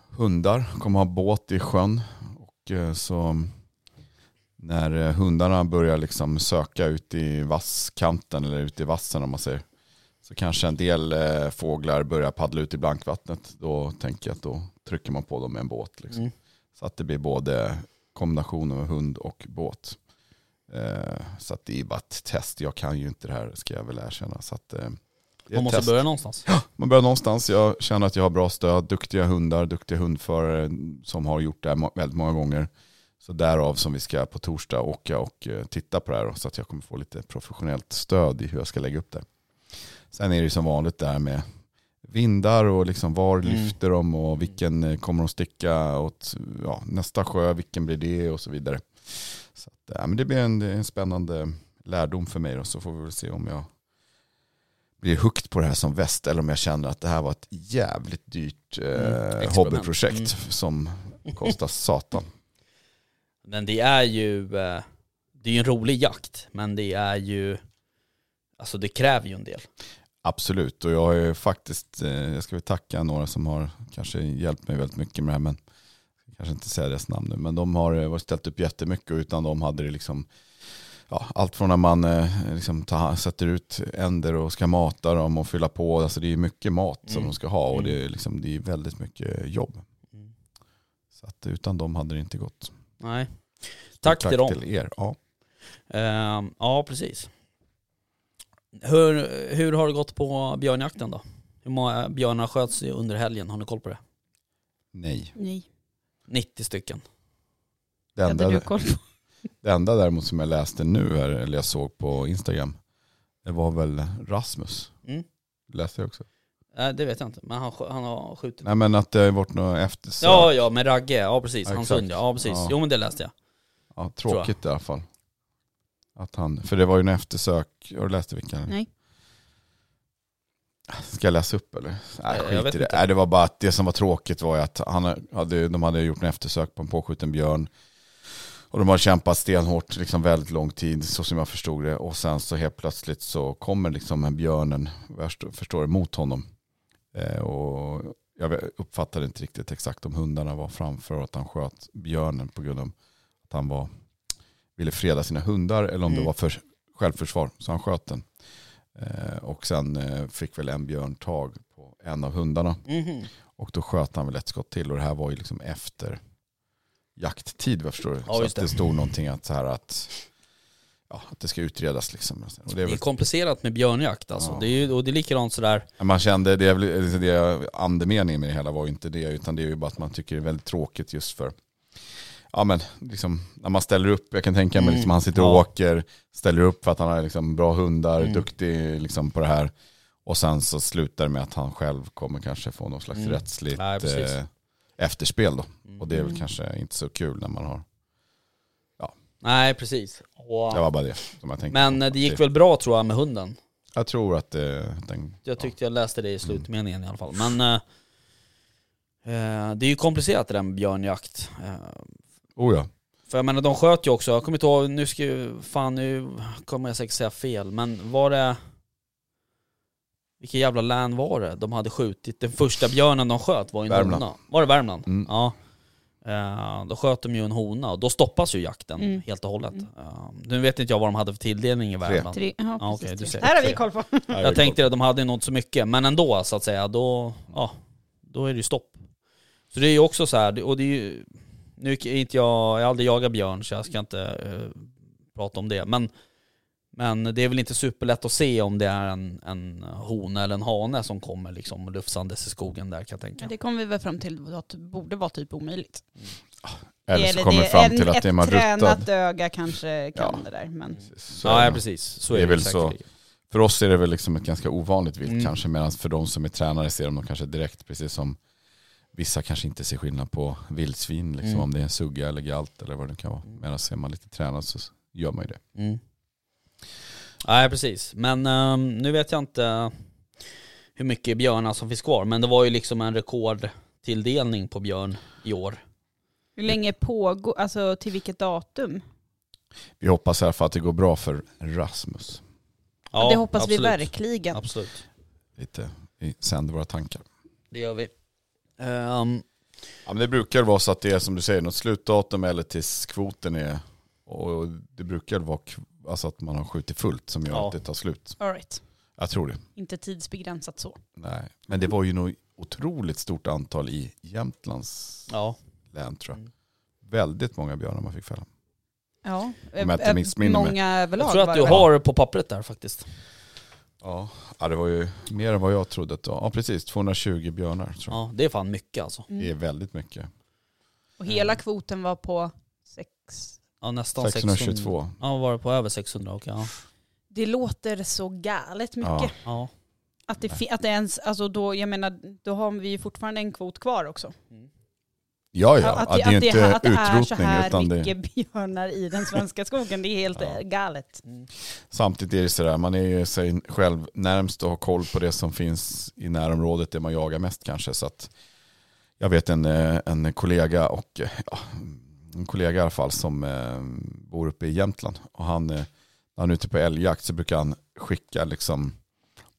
hundar, kommer ha båt i sjön och eh, så när eh, hundarna börjar liksom söka ut i vasskanten eller ut i vassen om man säger så kanske en del eh, fåglar börjar paddla ut i blankvattnet. Då tänker jag att då trycker man på dem med en båt. Liksom.
Mm.
Så att det blir både kombination av hund och båt. Eh, så att det är bara ett test. Jag kan ju inte det här ska jag väl erkänna. Så att, eh, det är
Man
ett
måste
test.
börja någonstans.
Man börjar någonstans. Jag känner att jag har bra stöd. Duktiga hundar, duktiga hundförare som har gjort det här ma- väldigt många gånger. Så därav som vi ska på torsdag åka och eh, titta på det här. då, Så att jag kommer få lite professionellt stöd i hur jag ska lägga upp det. Sen är det ju som vanligt där med vindar och liksom var
Mm.
lyfter de och vilken eh, kommer de sticka åt ja, nästa sjö, vilken blir det och så vidare. Så att, ja, men det blir en, det är en spännande lärdom för mig och så får vi väl se om jag blir hooked på det här som väst eller om jag känner att det här var ett jävligt dyrt eh,
experiment.
hobbyprojekt
Mm.
som kostar satan.
Men det är ju, eh, det är ju en rolig jakt, men det är ju, alltså det kräver ju en del.
Absolut, och jag har ju faktiskt, eh, jag ska väl tacka några som har kanske hjälpt mig väldigt mycket med det här, men jag kanske inte säga deras namn nu, men de har eh, varit ställt upp jättemycket och utan dem hade det liksom, ja, allt från när man eh, liksom ta, sätter ut änder och ska mata dem och fylla på, alltså det är mycket mat som
Mm.
de ska ha och det är,
Mm.
liksom, det är väldigt mycket jobb. Så att utan dem hade det inte gått.
Nej. Tack till dem.
till er. Ja.
Ehm, ja, precis. Hur, hur har det gått på björnjakten då? Hur många björnar sköts ju under helgen? Har ni koll på det?
Nej.
Nej,
90 stycken.
Det
det
enda,
hade du koll på.
Det enda däremot som jag läste nu här, eller jag såg på Instagram, Det var väl Rasmus,
Mm.
läste jag också.
Eh, det vet jag inte, men han, sk- han har skjutit.
Nej men att det har varit något eftersök.
Ja, ja, med Ragge. Ja, precis.
Ja,
Hans
exakt.
hund, ja. ja precis.
Ja.
Jo, men det läste jag.
Ja, tråkigt i alla fall. Att han, för det var ju en eftersök, har du läst det vilken?
Nej.
Ska jag läsa upp eller? Nej,
jag
skit
vet
i det.
inte.
Nej, det var bara att det som var tråkigt var ju att han hade, de hade gjort en eftersök på en påskjuten björn. Och de har kämpat stenhårt, liksom väldigt lång tid, så som jag förstod det. Och sen så helt plötsligt så kommer liksom en björnen, vad jag förstår- förstår det, mot honom. Eh, och jag uppfattade inte riktigt exakt om hundarna var framför och att han sköt björnen på grund av att han var, ville freda sina hundar eller om
Mm.
det var för självförsvar. Så han sköt den. Eh, och sen eh, fick väl en björn tag på en av hundarna.
Mhm.
Och då sköt han väl ett skott till och det här var ju liksom efter jakttid vad jag förstår.
Ja,
så
just
att det
det.
stod någonting att, så här att, ja, att det ska utredas liksom. Och det är
Det är
väl,
komplicerat med björnjakt alltså.
Ja.
Det är ju, och det är likadant sådär.
man kände, det, är väl- alltså det andemeningen med det hela var ju inte det utan det är ju bara att man tycker det är väldigt tråkigt just för Ja men liksom, när man ställer upp, jag kan tänka mig
Mm,
liksom, han sitter och
ja.
åker, ställer upp för att han har liksom, bra hundar,
Mm.
duktig liksom, på det här. Och sen så slutar det med att han själv kommer kanske få någon slags
Mm.
rättsligt
Nej, precis.
eh, efterspel då.
Mm.
Och det är väl
Mm.
kanske inte så kul när man har,
Nej, precis. Och-
det var bara det som jag tänkte.
Men
på.
eh, det gick väl bra tror jag med hunden.
Jag tror att det, den,
Jag tyckte jag läste
Mm.
det i slutmeningen i alla fall. Men eh, eh, det är ju komplicerat det där med björnjakt. Eh,
oh ja.
För jag menar de sköt ju också, jag kommer inte ihåg, nu ska ju- fan nu kommer jag säkert säga fel, men var det vilken jävla län var det de hade skjutit? Den första björnen de sköt var ju en
Värmland.
hona. Var det Värmland?
Mm.
Ja. Eh, då sköt de ju en hona och då stoppas ju jakten
Mm.
helt och hållet.
Mm.
Eh, nu vet inte jag vad de hade för tilldelning i Värmland.
Tre, ja,
Ja,
precis,
okej, du
tre.
ser.
Det här har vi koll på.
Jag tänkte att de hade nog inte så mycket, men ändå så att säga, då, ja, då är det ju stopp. Så det är ju också så här, och det är ju, nu är inte jag, jag har aldrig jagat björn så jag ska inte eh, prata om det, men, men det är väl inte superlätt att se om det är en, en hona eller en hane som kommer liksom lufsandes i skogen där kan jag tänka.
Det kom vi väl fram till att det borde vara typ omöjligt.
Eller så
det-
kommer
det-
fram
en-
till att det är man
Ett
ruttad.
tränat öga kanske kan
Ja.
det där. Men
Så är
Ja, ja
det.
precis, så
Det
är
är
det,
väl så.
säkert.
För oss är det väl liksom ett ganska ovanligt vilt
Mm.
kanske, medan för de som är tränare ser de dem kanske direkt, precis som vissa kanske inte ser skillnad på vildsvin, liksom,
Mm.
om det är en sugga eller galt eller vad det nu kan vara.
Mm.
Medan är man lite tränad så gör man ju det.
Mm. Nej precis, men ehm, nu vet jag inte hur mycket björnar som finns kvar, men det var ju liksom en rekordtilldelning på björn i år.
hur länge pågår, alltså till vilket datum?
Vi hoppas i alla fall att det går bra för Rasmus.
det hoppas
absolut.
vi verkligen.
Absolut,
Lite, vi sänder våra tankar.
det gör vi. Ehm,
Ja, men det brukar vara så att det är som du säger, något slutdatum eller tills kvoten är, och det brukar vara kv- alltså att man har skjutit fullt som gör
Ja.
att det tar slut.
All right.
Jag tror det.
Inte tidsbegränsat så.
Nej. Men det var ju nog otroligt stort antal i Jämtlands
ja.
län tror jag.
Mm.
Väldigt många björnar man fick fälla.
Ja,
jag inte
eh,
missminner mig.
många överlag.
Jag tror
var
att du
det.
har på pappret där faktiskt.
Ja. ja, det var ju mer än vad jag trodde. Att, det var. ja, precis. 220 björnar tror jag.
Ja, det är fan mycket alltså.
Det är
Mm.
väldigt mycket.
Och hela kvoten var på sex.
Ja, nästan 600.
622.
Ja, var det på över 600? Okej, ja.
Det låter så galet mycket.
Ja.
ja.
Att, det fi- att det ens, alltså då, jag menar, då har vi ju fortfarande en kvot kvar också.
Mm.
Ja, ja.
Att,
Att, det är inte
att det är så
utrotning.
här
utan det,
mycket björnar i den svenska skogen, det är helt
Ja.
eh, galet.
Mm.
Samtidigt är det sådär, man är ju sig själv närmst och har koll på det som finns i närområdet, det man jagar mest kanske. Så att jag vet en, eh, en kollega och eh, ja, en kollega i alla fall som eh, bor uppe i Jämtland. Och han, eh, när han är ute på älgjakt så brukar han skicka liksom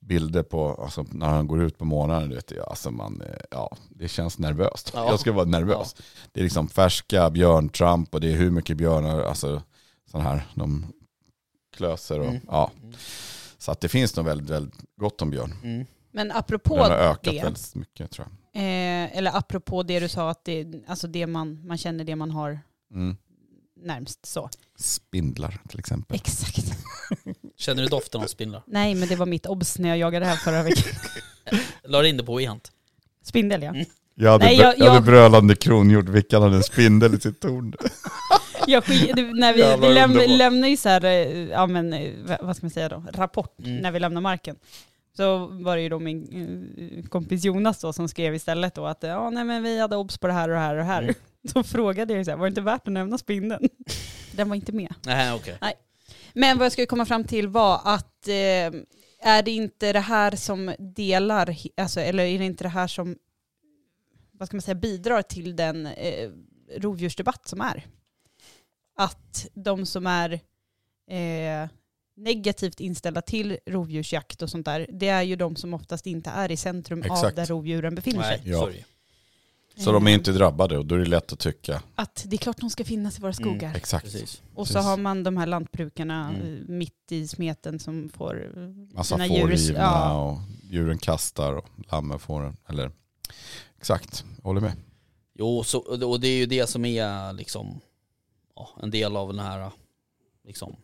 bilder på, alltså, när han går ut på morgonen. Du vet, ja, alltså man, eh, ja, det känns nervöst.
Ja.
Jag ska vara nervös. Det är liksom färska björntramp och det är hur mycket björnar, alltså sådana här, de klöser och
Mm.
ja.
Mm.
Så att det finns nog väldigt, väldigt gott om björn.
Mm.
Men
Den har
apropå
ökat
det,
väldigt mycket tror jag.
eh, eller apropå det du sa, att det, alltså det man, man känner det man har
Mm.
närmst så.
Spindlar till exempel.
Exakt.
Känner du doften av spindlar?
Nej, men det var mitt obs när jag jagade här förra veckan.
La det in det på Ehant.
Spindel ja.
Jag hade,
Nej,
brö-
jag-
jag hade
jag-
brölande kronhjort, Vickan hade en spindel i sitt torn.
Jag sk- det, när vi,
Jävla
vi läm,
underbart.
lämnar ju så här, eh, ja men eh, va- vad ska man säga då, rapport
Mm.
när vi lämnar marken. Så var det ju då min eh, kompis Jonas då som skrev istället då att ja nej men vi hade obs på det här och det här och det här.
Mm.
Så frågade jag ju så här, var det inte värt att nämna spindeln? Den var inte med.
Nej, okej.
Men vad jag skulle komma fram till var att eh, är det inte det här som delar, he- alltså, eller är det inte det här som vad ska man säga, bidrar till den eh, rovdjursdebatt som är? Att de som är eh, negativt inställda till rovdjursjakt och sånt där, det är ju de som oftast inte är i centrum av
Exakt.
där rovdjuren befinner sig.
Nej,
Ja.
sorry.
Så de är inte drabbade och då är det lätt att tycka.
Eh, Att det är klart de ska finnas i våra
Mm,
skogar.
Exakt.
Precis.
och så
precis.
har man de här lantbrukarna
Mm.
eh, mitt i smeten som får eh,
Massa
Sina
får
djur-
rivna
ja.
och djuren kastar och lammen får den. Eller, exakt, jag håller med.
Jo, så, och det är ju det som är liksom ja, en del av den här liksom,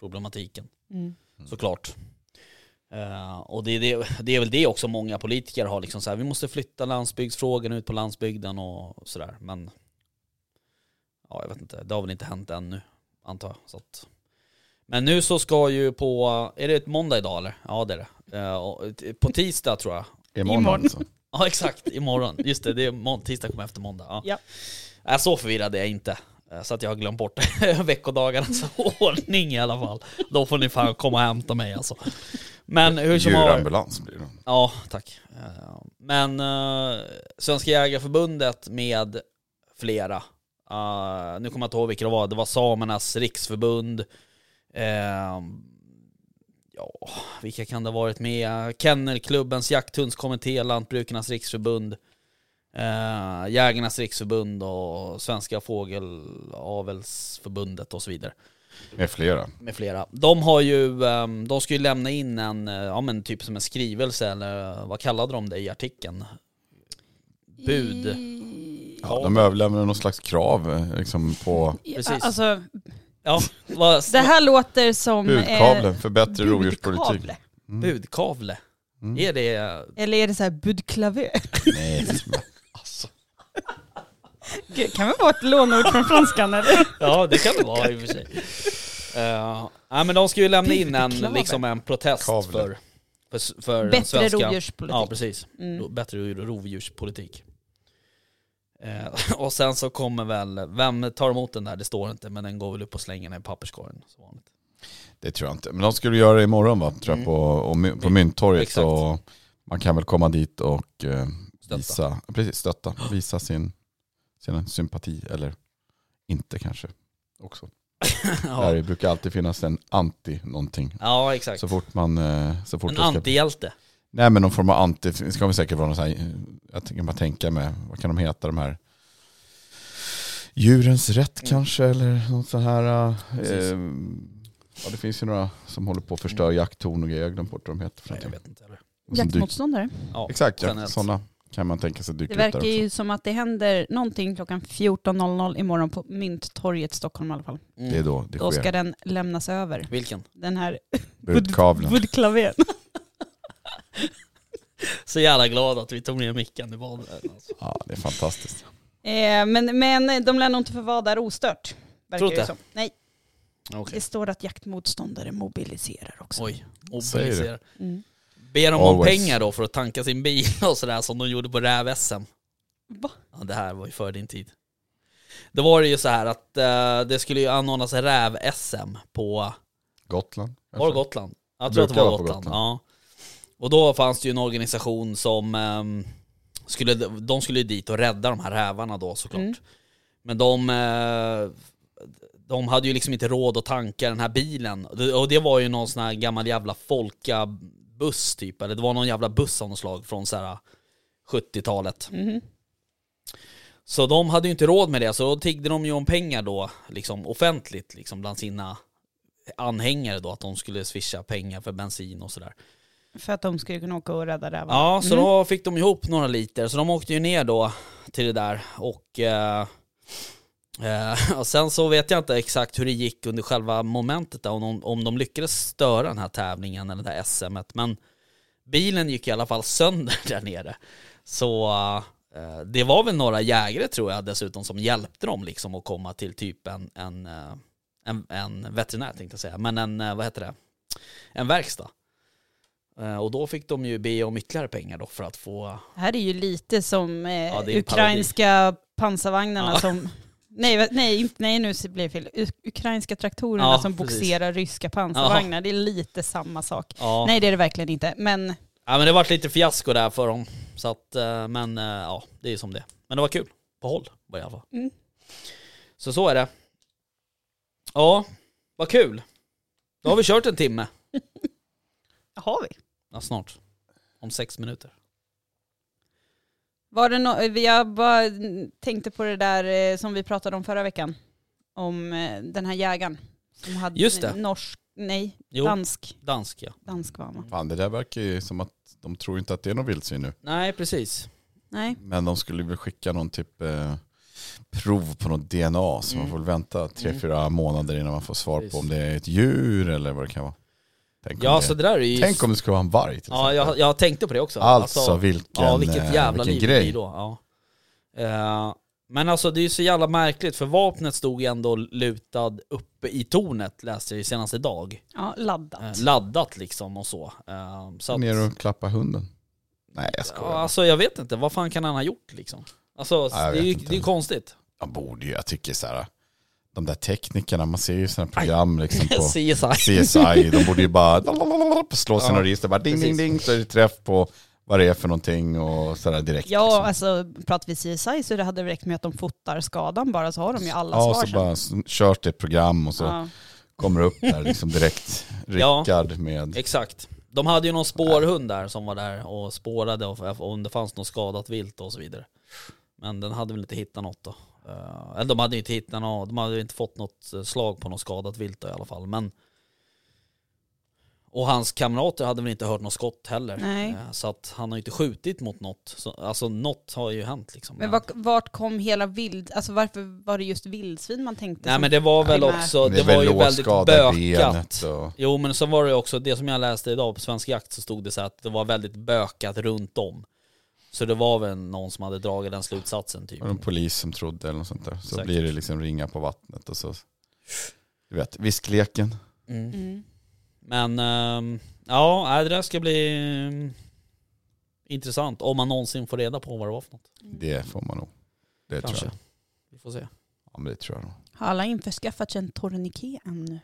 problematiken.
mm.
såklart. Eh, och det är, det, det är väl det också många politiker har, liksom så här, vi måste flytta landsbygdsfrågan ut på landsbygden och sådär. Men ja, jag vet inte, det har väl inte hänt ännu, antar jag. Så att. Men nu så ska ju på, är det ett måndag idag eller? Ja det är det. Eh, och, t- på tisdag tror jag.
Imorgon,
Imorgon.
alltså.
Ja exakt, imorgon. Just det, det är må- tisdag kommer efter måndag. Ja.
Ja.
Äh, så förvirrad är jag inte. Eh, Så att jag har glömt bort veckodagarnas ordning i alla fall. Då får ni fan komma och hämta mig alltså. Men hur som har...
Djurambulans blir det.
Ja, tack. Eh, Men eh, Svenska Jägareförbundet med flera, eh, nu kommer jag inte ihåg vilka det var, det var Samernas Riksförbund, eh, ja, vilka kan det ha varit med? Kennelklubbens jakthundskommitté, Lantbrukarnas Riksförbund, eh, Jägarnas Riksförbund och Svenska Fågelavelsförbundet och så vidare
Med flera.
med flera. De har ju, ehm, de ska ju lämna in en, eh, ja men typ som en skrivelse eller eh, vad kallade de det i artikeln? Bud.
Ja, de överlämnar någon slags krav eh, liksom, på
Precis.
Alltså,
Ja, vad,
det här låter som...
budkavlen för bättre
budkavle.
rovdjurspolitik.
Mm. budkavle.
Mm.
Är det,
Eller är det så här budklavé?
Nej,
Det kan väl vara ett lånord från franskan eller?
ja det kan det vara i och för sig. Eh, nej men de ska ju lämna in en,
Budkavle.
liksom en protest
Kavle.
för, för, för den
Bättre
svenska.
rovdjurspolitik.
Ja precis,
Mm.
bättre ro- rovdjurspolitik. Eh, och sen så kommer väl, vem tar emot den där? Det står inte, men den går väl upp och slänger den i papperskorgen. Som vanligt.
Det tror jag inte. Men de skulle göra det imorgon va? Tror jag,
Mm.
på, och, my- på Mynttorget.
Exakt.
Och man kan väl komma dit och eh,
Stötta.
visa, precis, stötta, visa sin, sin sympati. Eller inte kanske. Också.
ja.
Där brukar alltid finnas en anti någonting.
ja, exakt.
Så fort man... eh, Så fort
en
det ska-
antihjälte.
Nej men någon form av anti, det ska väl säkert vara någon sån här, jag tänker bara tänka med, vad kan de heta de här? Djurens rätt
Mm.
kanske eller något sånt här.
Precis. Mm.
Eh, ja det finns ju några som håller på att förstöra jakttorn och grejer, jag har glömt bort vad de heter. För
Nej, jag
någonting.
vet inte heller.
Och som dyker-
Jaktmotståndare.
Ja,
Exakt, ja,
generellt.
sådana kan man tänka sig dyka
Det
upp där
verkar
också.
ju som att det händer någonting klockan 14.00 imorgon på Mynttorget Stockholm i alla fall.
Mm.
Det är då det
Då ska
sker.
den lämnas över.
Vilken?
Den här
Budkavlen.
budklavén.
Så jävla glad att vi tog ner micken. Det var det. Alltså.
Ja det är fantastiskt.
Eh, men, men de lär nog inte få vara där ostört. Verkar
Tror
det
inte.
som. Nej,
Okej.
det står att jaktmotståndare mobiliserar också.
Oj,
Säger du.
mobilisera.
Mm.
Ber de om
Always.
pengar då för att tanka sin bil och sådär som de gjorde på räv-SM?
Va?
Ja, det här var ju före din tid. Då var det ju så här att eh, det skulle ju anordnas räv-SM på
Gotland.
Var det
kanske?
Gotland? Jag tror att det
Alltså, Brukar
var
vara på
Gotland.
Gotland.
Ja. Och då fanns det ju en organisation som ehm, skulle, de skulle ju dit och rädda de här rävarna då såklart.
Mm.
Men de, eh, de hade ju liksom inte råd att tanka den här bilen. Och det var ju någon sån här gammal jävla folkabuss typ, eller det var någon jävla buss av något slag från så här eh, 70-talet.
Mhm.
Så de hade ju inte råd med det, så då tiggde de ju om pengar då, liksom offentligt, liksom bland sina anhängare då, att de skulle swisha pengar för bensin och sådär.
För att de skulle kunna åka och rädda rävarna.
Ja, så
Mm.
då fick de ihop några liter, så de åkte ju ner då till det där och, eh, eh, och sen så vet jag inte exakt hur det gick under själva momentet där, om de, om de lyckades störa den här tävlingen eller det här SMet, men bilen gick i alla fall sönder där nere. Så eh, Eh, Det var väl några jägare tror jag dessutom som hjälpte dem liksom att komma till typ en, en, eh, en, en veterinär tänkte jag säga, men en, eh, vad heter det, en verkstad. Eh, Och då fick de ju be om ytterligare pengar då för att få,
Det här är ju lite som eh,
Ja, det är en
ukrainska pansarvagnarna
Ja.
som... Nej, va- nej, inte, nej, nu blir det fel. U- ukrainska traktorerna
Ja,
som
precis.
boxerar ryska pansarvagnar. Det är lite samma sak.
ja,
Nej, det är det verkligen inte. Men
ja men det vart lite fiasko där för dem. Så att, eh, men eh, ja, det är ju som det Men det var kul, på håll var i alla fall.
Mm.
Så så är det. Ja, vad kul. Då har vi kört en timme.
har vi.
Ja, snart. Om sex minuter.
Var det no- jag bara tänkte på det där eh, som vi pratade om förra veckan. Om eh, den här jägaren. Som hade
Just det.
norsk, nej,
Jo.
dansk.
Dansk ja.
Dansk var han va?
Fan det där verkar ju som att de tror inte att det är någon vildsvin nu.
Nej, precis.
Nej.
Men de skulle väl skicka någon typ eh, prov på något DNA så man
Mm.
får väl vänta tre,
Mm.
fyra månader innan man får svar
Precis.
på om det är ett djur eller vad det kan vara. Tänk om,
Ja,
det,
så det där är ju...
tänk om det skulle vara en varg till
Ja, jag,
exempel.
jag tänkte på det också.
Alltså, vilken,
ja, vilket
eh,
jävla
vilken
liv det
grej.
blir då. Ja. Eh, men alltså det är ju så jävla märkligt för vapnet stod ju ändå lutad uppe i tornet läste jag ju senast idag.
Ja, laddat.
Eh, laddat liksom och så. Eh, så att,
Ner och klappa hunden. Nej jag skojar.
ja, alltså jag vet inte, vad fan kan han ha gjort liksom? Alltså
Ja, jag
det, är
vet
ju,
inte.
det är ju konstigt.
Man borde ju, jag tycker så här, de där teknikerna, man ser ju sådana program liksom på
CSI.
CSI, de borde ju bara slå sina
Ja,
register, bara ding ding
precis.
ding så är det träff på vad det är för någonting och sådär direkt.
Ja,
liksom.
alltså pratar vi CSI så det hade räckt med att de fotar skadan bara så har de ju alla
ja,
svar
så bara s- körs det ett program och så
Ja.
kommer det upp där liksom direkt.
Ja.
Rickard med...
Exakt. De hade ju någon spårhund där som var där och spårade och- och om det fanns något skadat vilt och så vidare. Men den hade väl inte hittat något då. Eh, Eller de hade ju inte hittat något, de hade ju inte fått något eh, slag på något skadat vilt då i alla fall. Men... Och hans kamrater hade väl inte hört något skott heller.
Nej.
Eh, Så att han har ju inte skjutit mot något. Så, alltså något har ju hänt liksom.
Men vart, vart kom hela vild, alltså varför var det just vildsvin man tänkte?
Nej
som-
men det var väl
primärt.
också, det,
är
var
väl
ju väldigt
lårskada i
bökat.
och...
Jo men så var det ju också, det som jag läste idag på Svensk Jakt så stod det så här att det var väldigt bökat runt om. Så det var väl någon som hade dragit den slutsatsen typ.
Var det en polis som trodde eller något sånt där. Så
Säkert.
blir det liksom ringa på vattnet och så... Du vet, viskleken.
Mm.
Mm.
Men ehm, ja, nej, det där ska bli ehm, intressant om man någonsin får reda på vad det var för något.
Mm.
Det får man nog. Det
Kanske.
tror jag.
Vi får se.
Ja, men det tror jag nog.
Har alla införskaffat sig en torniké ännu?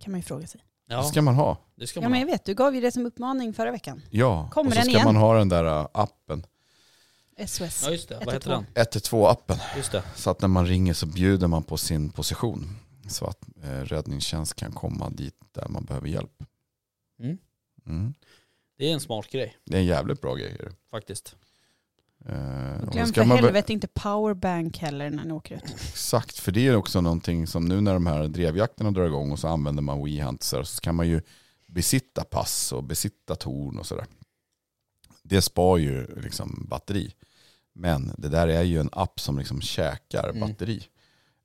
Kan man ju fråga sig.
Ja,
Det ska man ha.
det ska
Ja
man
men
ha.
jag vet, du gav ju det som uppmaning förra veckan.
Ja,
Kommer
och så
den
ska
igen?
man ha den där äh, appen.
SOS.
Ja just det,
Ett och
vad heter
två.
den?
112-appen.
Just det.
Så att när man ringer så bjuder man på sin position. Så att eh, räddningstjänst kan komma dit där man behöver hjälp.
Mm.
Mm.
Det är en smart grej
Det är en jävligt bra grej. är det.
faktiskt.
Eh,
Och
och
glöm
då
för
ska man väl-
helvete inte powerbank heller när ni åker ut.
Exakt, för det är också någonting som nu när de här drevjakterna drar igång och så använder man WeHuntsar så kan man ju besitta pass och besitta torn och sådär. Det spar ju liksom batteri. Men det där är ju en app som liksom käkar
Mm.
batteri.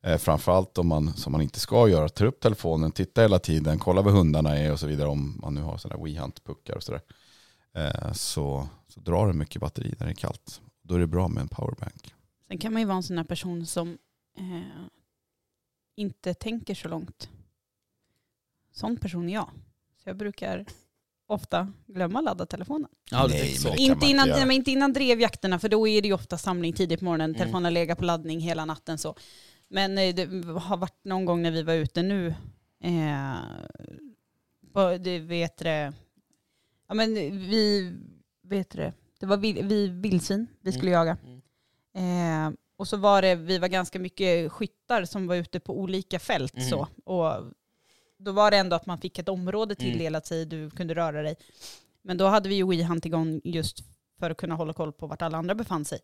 Eh, framförallt om man, som man inte ska göra, tar upp telefonen, tittar hela tiden, kollar vad hundarna är och så vidare om man nu har sådana WeHunt-puckar och sådär. Eh, så, så drar det mycket batteri när det är kallt. Då är det bra med en powerbank.
Sen kan man ju vara en sån här person som eh, inte tänker så långt. Sån person är jag. Så jag brukar ofta glömma ladda telefonen.
Ja, du
Nej,
tänker så.
men det- kan man
Inte
inte
innan,
göra.
nej, men inte innan drevjakterna, för då är det ju ofta samling tidigt på morgonen.
Mm.
Telefonen lägger på laddning hela natten så. Men eh, det har varit någon gång när vi var ute nu, eh, på- det vet det, ja men vi, vet det, det var vil, vi vildsvin vi skulle jaga.
Mm.
Eh, och så var det, vi var ganska mycket skyttar som var ute på olika fält
Mm.
så. Och då var det ändå att man fick ett område
Mm.
tilldelat sig, du kunde röra dig. Men då hade vi ju WeHunt igång just för att kunna hålla koll på vart alla andra befann sig.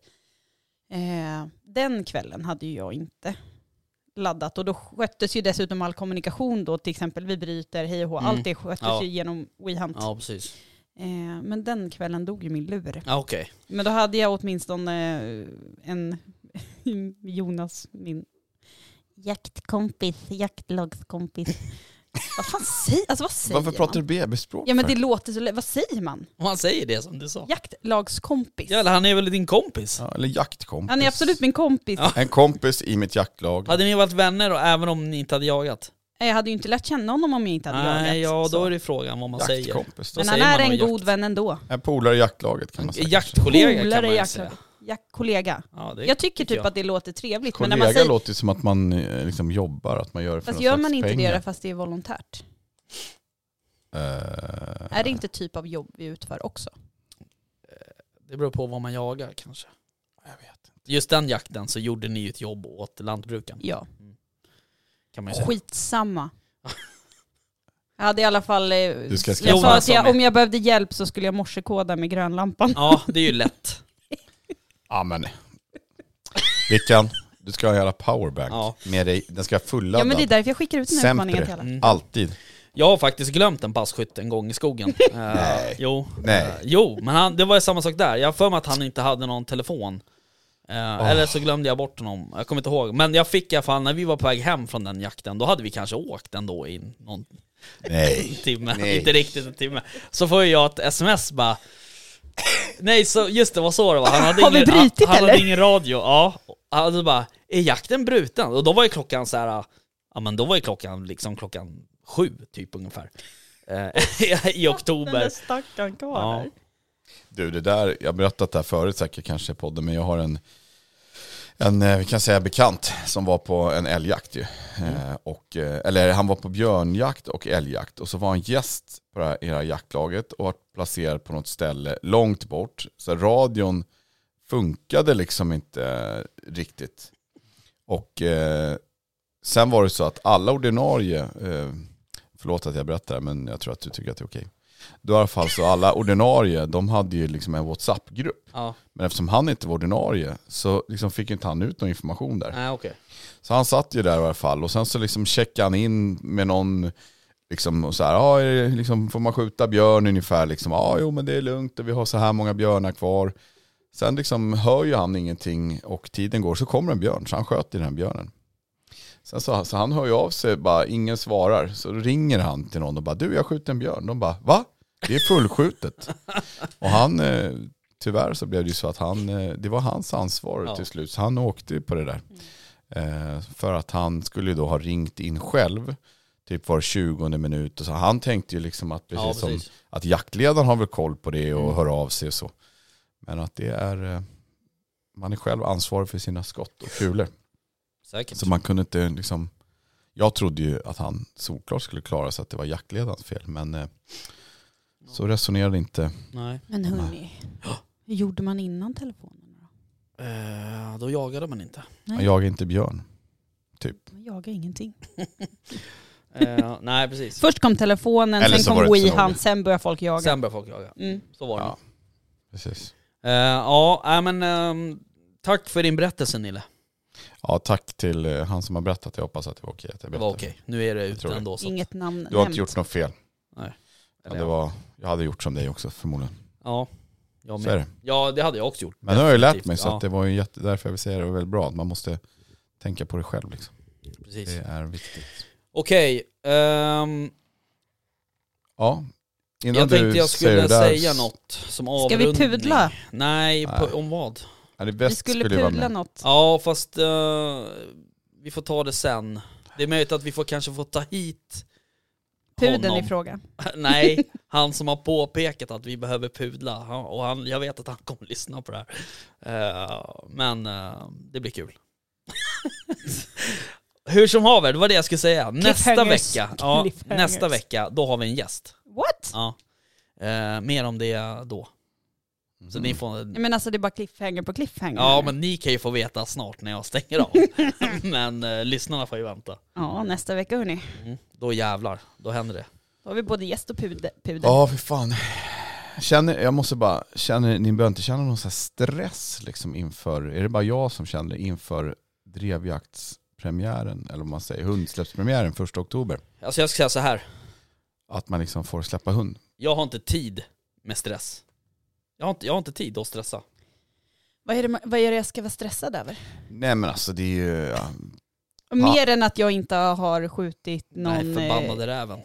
Eh, den kvällen hade ju jag inte laddat och då sköttes ju dessutom all kommunikation då, till exempel vi bryter, hej och hå,
Mm.
allt det sköttes
Ja.
ju genom WeHunt.
Ja, precis.
Eh, men den kvällen dog ju min lur.
Ja, okej.
Men då hade jag åtminstone eh, en Jonas, min jaktkompis, jaktlagskompis, Vad fan säger, alltså vad säger
Varför pratar du
man?
bebisspråk?
Ja men
för?
det låter så lä- vad säger man?
Om han säger det som du sa.
Jaktlagskompis.
Ja, eller han är väl din kompis?
ja, eller jaktkompis.
Han är absolut min kompis.
Ja.
En kompis i mitt jaktlag.
Hade ni varit vänner då, även om ni inte hade jagat?
Jag hade ju inte lärt känna honom om jag inte hade
Nej,
jagat.
ja
så.
då är det frågan vad man säger.
Jaktkompis. då.
Men
säger
han är
man
en
nog
god vän ändå.
En polare i jaktlaget kan man säga. kanske.
Jaktkollega kan man
Polare,
ju
jakt-
säga.
Jak- kollega.
Ja, det
Jag tycker
tycker
typ
jag.
att det låter trevligt. men när
Kollega
man säger,
låter ju som att man eh, liksom jobbar, att man gör det för
fast
någon
gör
slags
man inte
pengar.
det fast det är volontärt?
Eh,
Är det inte typ av jobb vi utför också?
det beror på vad man jagar kanske. Just den jakten så gjorde ni ju ett jobb åt lantbrukaren.
Ja.
Kan man ju säga.
Skitsamma. Jag hade i alla fall... eh,
Du ska
jag
skaffa...
sa att
Jonas
jag,
var
om jag behövde hjälp så skulle jag morsekoda med grönlampan.
Ja, det är ju lätt.
Ja men. Vickan, du ska ha en jävla powerbank
Ja.
med dig. Den ska vara
Ja
fulladdad.
men det är därför jag skickar ut den här
Sempre.
utmaningen till alla.
Mm.
Alltid.
Jag har faktiskt glömt en passkytt en gång i skogen. Eh,
Nej.
Jo,
Nej.
Eh, jo men han, det var ju samma sak där. Jag har för mig att han inte hade någon telefon. Eh, Eller så glömde jag bort honom, jag kommer inte ihåg. Men jag fick i alla fall, när vi var på väg hem från den jakten, då hade vi kanske åkt ändå i någon
Nej.
timme,
Nej.
inte riktigt en timme. Så får ju jag ett sms bara Nej, så, just det var så det var. Han hade
Har vi
ingen,
brutit,
han, han
eller?
hade ingen radio. Ja, han hade bara, är jakten bruten? Och då var ju klockan så här, ja men då var ju klockan liksom klockan sju typ ungefär. Eh, I oktober.
stackaren kvar
Ja.
där.
Du det där, jag har berättat det här förut säkert kanske i podden, men jag har en, en eh, vi kan säga bekant som var på en älgjakt ju. Eh, Och, eh, eller han var på björnjakt och älgjakt och så var han gäst på det här, i det här jaktlaget och var placerad på något ställe långt bort. Så radion funkade liksom inte riktigt. Och eh, sen var det så att alla ordinarie, eh, förlåt att jag berättar men jag tror att du tycker att det är okej. Då i alla fall så alla ordinarie, de hade ju liksom en WhatsApp-grupp.
Ja,
Men eftersom han inte var ordinarie så liksom fick inte han ut någon information där.
nej okej.
Så han satt ju där i alla fall och sen så liksom checkade han in med någon, liksom och så här, ja, är det liksom, får man skjuta björn ungefär liksom? Ja, jo men det är lugnt och vi har så här många björnar kvar. Sen liksom hör ju han ingenting och tiden går så kommer en björn, så han sköt i den här björnen. Sen så, så han hör ju av sig, bara ingen svarar. Så då ringer han till någon och bara, du jag skjuter en björn. De bara, va? Det är fullskjutet. och han, eh, tyvärr så blev det ju så att han, eh, det var hans ansvar
Ja.
till slut. Så han åkte ju på det där. Eh, för att han skulle ju då ha ringt in själv, typ var 20 minut. Och så han tänkte ju liksom att precis,
Ja,
som
precis. Mm.
att jaktledaren har väl koll på det och hör av sig och så. Men att det är, eh, man är själv ansvarig för sina skott och kulor.
Säkert.
Så man kunde inte liksom, jag trodde ju att han såklart skulle klara sig att det var jaktledarens fel. Men eh, så resonerade inte.
Nej.
Men hörni, hur gjorde man innan telefonen? då?
Eh, då jagade man inte.
Nej,
Han jagade inte björn.
man jagar ingenting.
Eh, nej, precis.
Först kom telefonen,
Eller så
sen
var
kom
det inte så
Wehan,
noga.
sen började folk jaga.
Sen började folk jaga.
Mm.
Så var det.
Ja. Precis.
Eh, Ja, nej, men ehm, tack för din berättelse Nille.
Ja, tack till eh, han som har berättat. Jag hoppas att det var okej att jag
Det var
berättade.
okej. Nu är det
tror
ute
det.
ändå. Så. att-
Inget namn
Du har
nämnt.
inte gjort något fel. Ja,
eller
det var, jag hade gjort som dig också förmodligen.
Ja, jag
Så är
med.
det.
Ja, det hade jag också gjort.
Men nu har jag ju lärt
Definitivt,
mig så
ja.
att det var ju jätte, därför jag vill säga det var väldigt bra. Att man måste tänka på det själv liksom.
Precis.
Det är viktigt.
Okej, ehm,
Ja, innan
jag tänkte
du
jag
säger
skulle
det där,
säga något som
Ska vi
avrundning.
pudla?
Nej,
Nej.
På, om vad?
Ja, det
Vi
bäst
skulle,
skulle vara
pudla
med.
något.
Ja, fast eh, vi får ta det sen. Det är möjligt att vi får, kanske får ta hit
Pudeln
honom.
i fråga.
Nej, han som har påpekat att vi behöver pudla. Han, och han, jag vet att han kommer lyssna på det här. Eh, men eh, det blir kul. Hur som haver, det var det jag skulle säga. Nästa
Cliffhangers.
vecka, ja,
Cliffhangers.
nästa vecka, då har vi en gäst.
What?
Ja. Eh, mer om det då. Så
Mm.
ni får...
Nej, men alltså det är bara cliffhanger på cliffhanger.
Ja, men ni kan ju få veta snart när jag stänger av. men eh, lyssnarna får ju vänta.
ja nästa vecka hörni.
Mm. Då jävlar, då händer det.
Då har vi både gäst och pudel. pudel.
Ja, för fan. Känner, jag måste bara, känner, ni behöver inte känna någon sån här stress liksom inför, är det bara jag som känner det inför drevjaktspremiären, eller vad man säger, hundsläppspremiären 1 oktober?
Alltså jag ska säga så här.
Att man liksom får släppa hund.
Jag har inte tid med stress. Jag har inte, jag har inte tid att stressa.
Vad, är det, ma- vad är det jag ska vara stressad över?
Nej men alltså det är ju, ja,
Mer än att jag inte har skjutit någon...
Nej,
eh,
förbannade räven.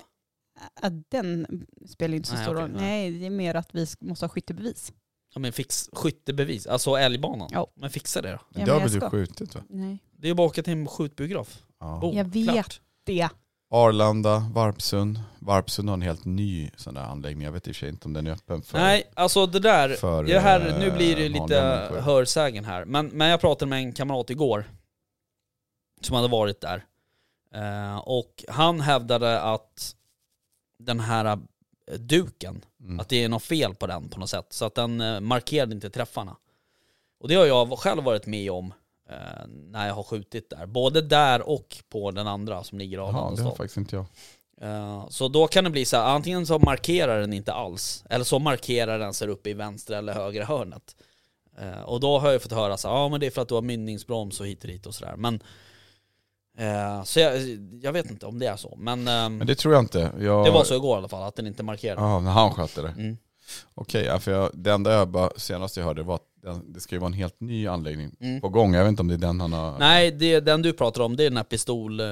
Ja, den spelar ju inte så
Nej,
stor
okej,
roll.
nej.
Nej, det är mer att vi måste ha skyttebevis.
Ja men fix, skyttebevis, alltså älgbanan.
Ja.
Men fixa det då.
Ja, men
det har
jag
väl du
ska. Oh.
skjutit va?
Nej.
Det är ju bara att åka till en skjutbiograf.
Ja.
Boom,
Jag vet.
klart.
Det.
Arlanda, Varpsund. Varpsund har en helt ny sån där anläggning. Jag vet i och för sig inte om den är öppen för...
Nej, alltså det där,
för
det här,
eh,
nu blir det ju lite
vanliga människor.
hörsägen här. Men, men jag pratade med en kamrat igår, som hade varit där. Eh, och han hävdade att den här eh, duken,
Mm.
Att det är något fel på den på något sätt. Så att den eh, markerade inte träffarna. Och det har jag själv varit med om eh, när jag har skjutit där. Både där och på den andra som ligger i
Jaha,
Arlanda
det har
stad.
faktiskt inte jag.
Eh, så då kan det bli så här, antingen så markerar den inte alls. Eller så markerar den sig uppe i vänstra eller högra hörnet. Eh, och då har jag fått höra så här, ja ah, men det är för att du har mynningsbroms och hit och dit och sådär. Men eh, så jag, jag vet inte om det är så. Men, ehm,
Men det tror jag inte. Jag...
det var så igår i alla fall, att den inte markerade.
Ja, när han skötte det.
Mm.
Okej, ja, för jag, det enda jag bara, senast jag hörde var att den, det ska ju vara en helt ny anläggning
Mm.
på gång. Jag vet inte om det är den han har...
Nej, det, den du pratar om det är den här pistol... eh,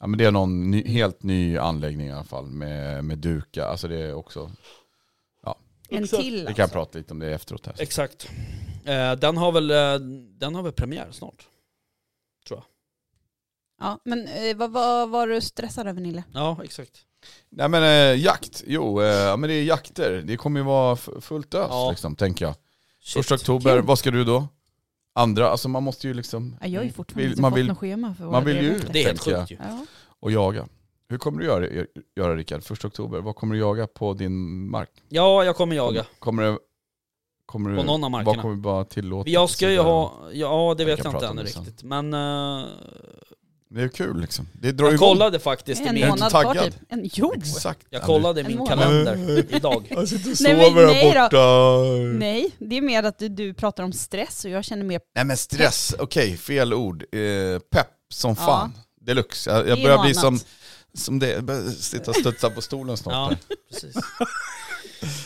Ja, men det är någon ny, helt ny anläggning i alla fall med, med duka. Alltså det är också...
En
Exakt.
till
Vi kan
alltså.
prata lite om det efteråt här.
Exakt. Eh, den, har väl, eh, den har väl premiär snart?
Ja, men eh, vad, vad var du stressad över Nille?
Ja, exakt.
Nej men eh, jakt, jo, eh, ja, men det är jakter. Det kommer ju vara f- fullt ös
Ja.
liksom, tänker jag.
Shit.
Första oktober,
Kul.
vad ska du då? Andra, alltså man måste ju liksom,
Ja, jag har ju
Mm.
fortfarande
Vill-
inte
man
fått
vill-
något schema för våra
man vill ju
drevjakter.
ut.
Det är helt
tänker
sjukt ju.
Ja.
och jaga. Hur kommer du göra, göra Rickard, första oktober? Vad kommer du jaga på din mark?
Ja, jag kommer jaga.
Kommer det, kommer du,
På någon av
Vad
markerna.
kommer vi bara tillåta?
Jag ska ju
och så vidare?
ha... Ja, det vet
Jag kan
jag inte
prata om
ännu
det sen.
riktigt. Men eh,
Det är kul liksom. Det drar
jag
igång.
kollade faktiskt i
En
du
min...
inte
månad kvar
taggad?
typ. En, jo!
Exakt.
Jag kollade i
En
min
månad.
kalender idag.
alltså
Jag sitter och
Nej, men sover här nej då.
borta.
Nej, det är mer att du, du pratar om stress och jag känner mer...
Nej men stress, okej fel ord. Eh, pepp som
Ja.
fan. Deluxe.
Det
Jag,
är
jag börjar
något
bli
annat.
som, som det, jag börjar sitta och studsa på stolen snart.
Ja,
här.
precis.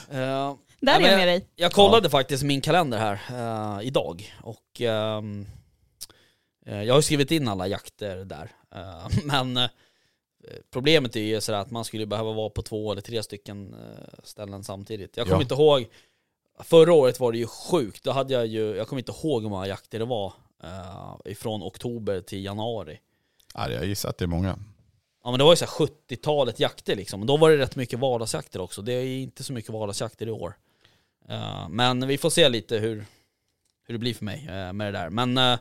Eh,
Där
Ja,
är
men
jag med dig.
Jag kollade faktiskt min kalender här eh, idag och ehm, eh, jag har ju skrivit in alla jakter där. Eh, men eh, problemet är ju sådär att man skulle behöva vara på två eller tre stycken eh, ställen samtidigt. Jag kommer
Ja.
inte ihåg, förra året var det ju sjukt, då hade jag ju, jag kommer inte ihåg hur många jakter det var eh, ifrån oktober till januari.
Ja, jag gissar att det är många.
Ja men det var ju såhär 70-talet jakter liksom, och då var det rätt mycket vardagsjakter också. Det är inte så mycket vardagsjakter i år. Eh, men vi får se lite hur, hur det blir för mig eh, med det där. Men eh,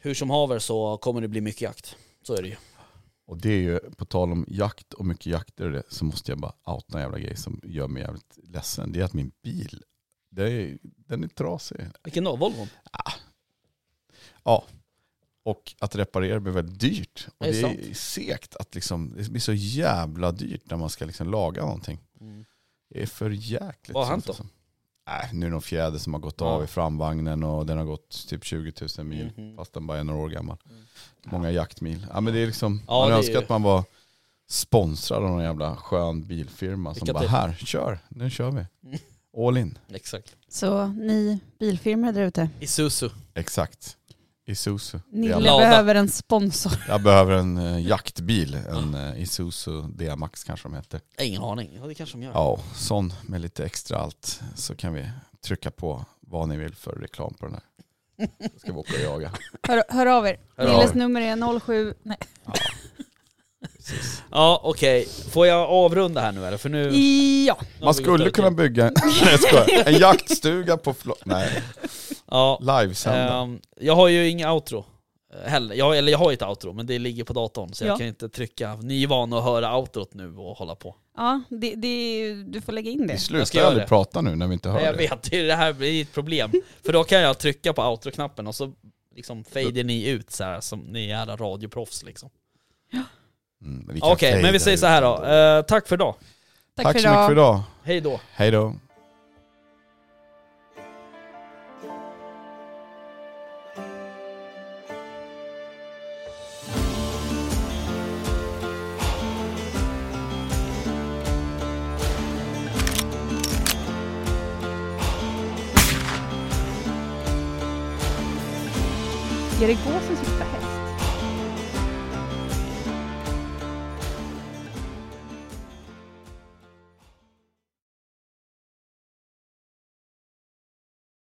hur som haver så kommer det bli mycket jakt. Så är det ju.
Och det är ju, på tal om jakt och mycket jakter och det, så måste jag bara outa en jävla grej som gör mig jävligt ledsen. Det är att min bil, det är, den är trasig.
Vilken då? Volvon?
Och att reparera blir väldigt dyrt. Och
Är
det
det
är segt att liksom, det blir så jävla dyrt när man ska liksom laga någonting.
Mm,
Det är för jäkligt.
Vad har hänt då?
Nej, nu är det någon fjäder som har gått
Ja.
av i framvagnen och den har gått typ 20 000 mil.
Mhm. Mm.
Fast den bara är några år gammal. Många jaktmil. Ja, men det är liksom,
Ja,
man
det är
önskar
ju-
att man var sponsrad av någon jävla skön bilfirma som
Lycka
bara
till.
här, kör, nu kör vi.
Mm.
All in.
Exakt.
Så ni bilfirmor där ute,
Isuzu.
Exakt. Isuzu.
Nille
Diamax.
behöver en sponsor.
Jag behöver en eh, jaktbil, en eh, Isuzu D-Max kanske de heter.
Jag har Ingen aning. Ja det kanske de gör.
Ja, sån med lite extra allt så kan vi trycka på vad ni vill för reklam på den här. Då ska vi åka och jaga.
Hör, hör av er.
Hör av
Nilles
er.
nummer är 07... Nej.
Ja okej. Får jag avrunda här nu eller? För nu...
Ja.
nu har
Man
vi
skulle
gått över
kunna
tid.
bygga en, nej, jag skojar. en jaktstuga på Flo- Nej,
Ja.
livesända.
Ehm, jag har ju inga outro. eh, Heller. Jag, eller jag har ju ett outro, men det ligger på datorn. Så
Ja.
jag kan inte trycka. Ni är vana att höra outrot nu och hålla på.
Ja, det, det, du får lägga in det.
Vi
jag ska
slutar
göra
aldrig
det.
prata nu när vi inte hör
Nej, jag
det.
vet, det är- det här blir ett problem. För då kan jag trycka på outro-knappen och så liksom fader ni ut så här som ni är alla radioproffs liksom.
Mm, vi kan
Okej, men vi
fejda
säger
ut
så här då.
ändå.
Eh, tack för idag.
Tack,
Tack
för
så mycket
idag.
för idag.
Hej då.
Hej då.
Jag ska det gå för sitt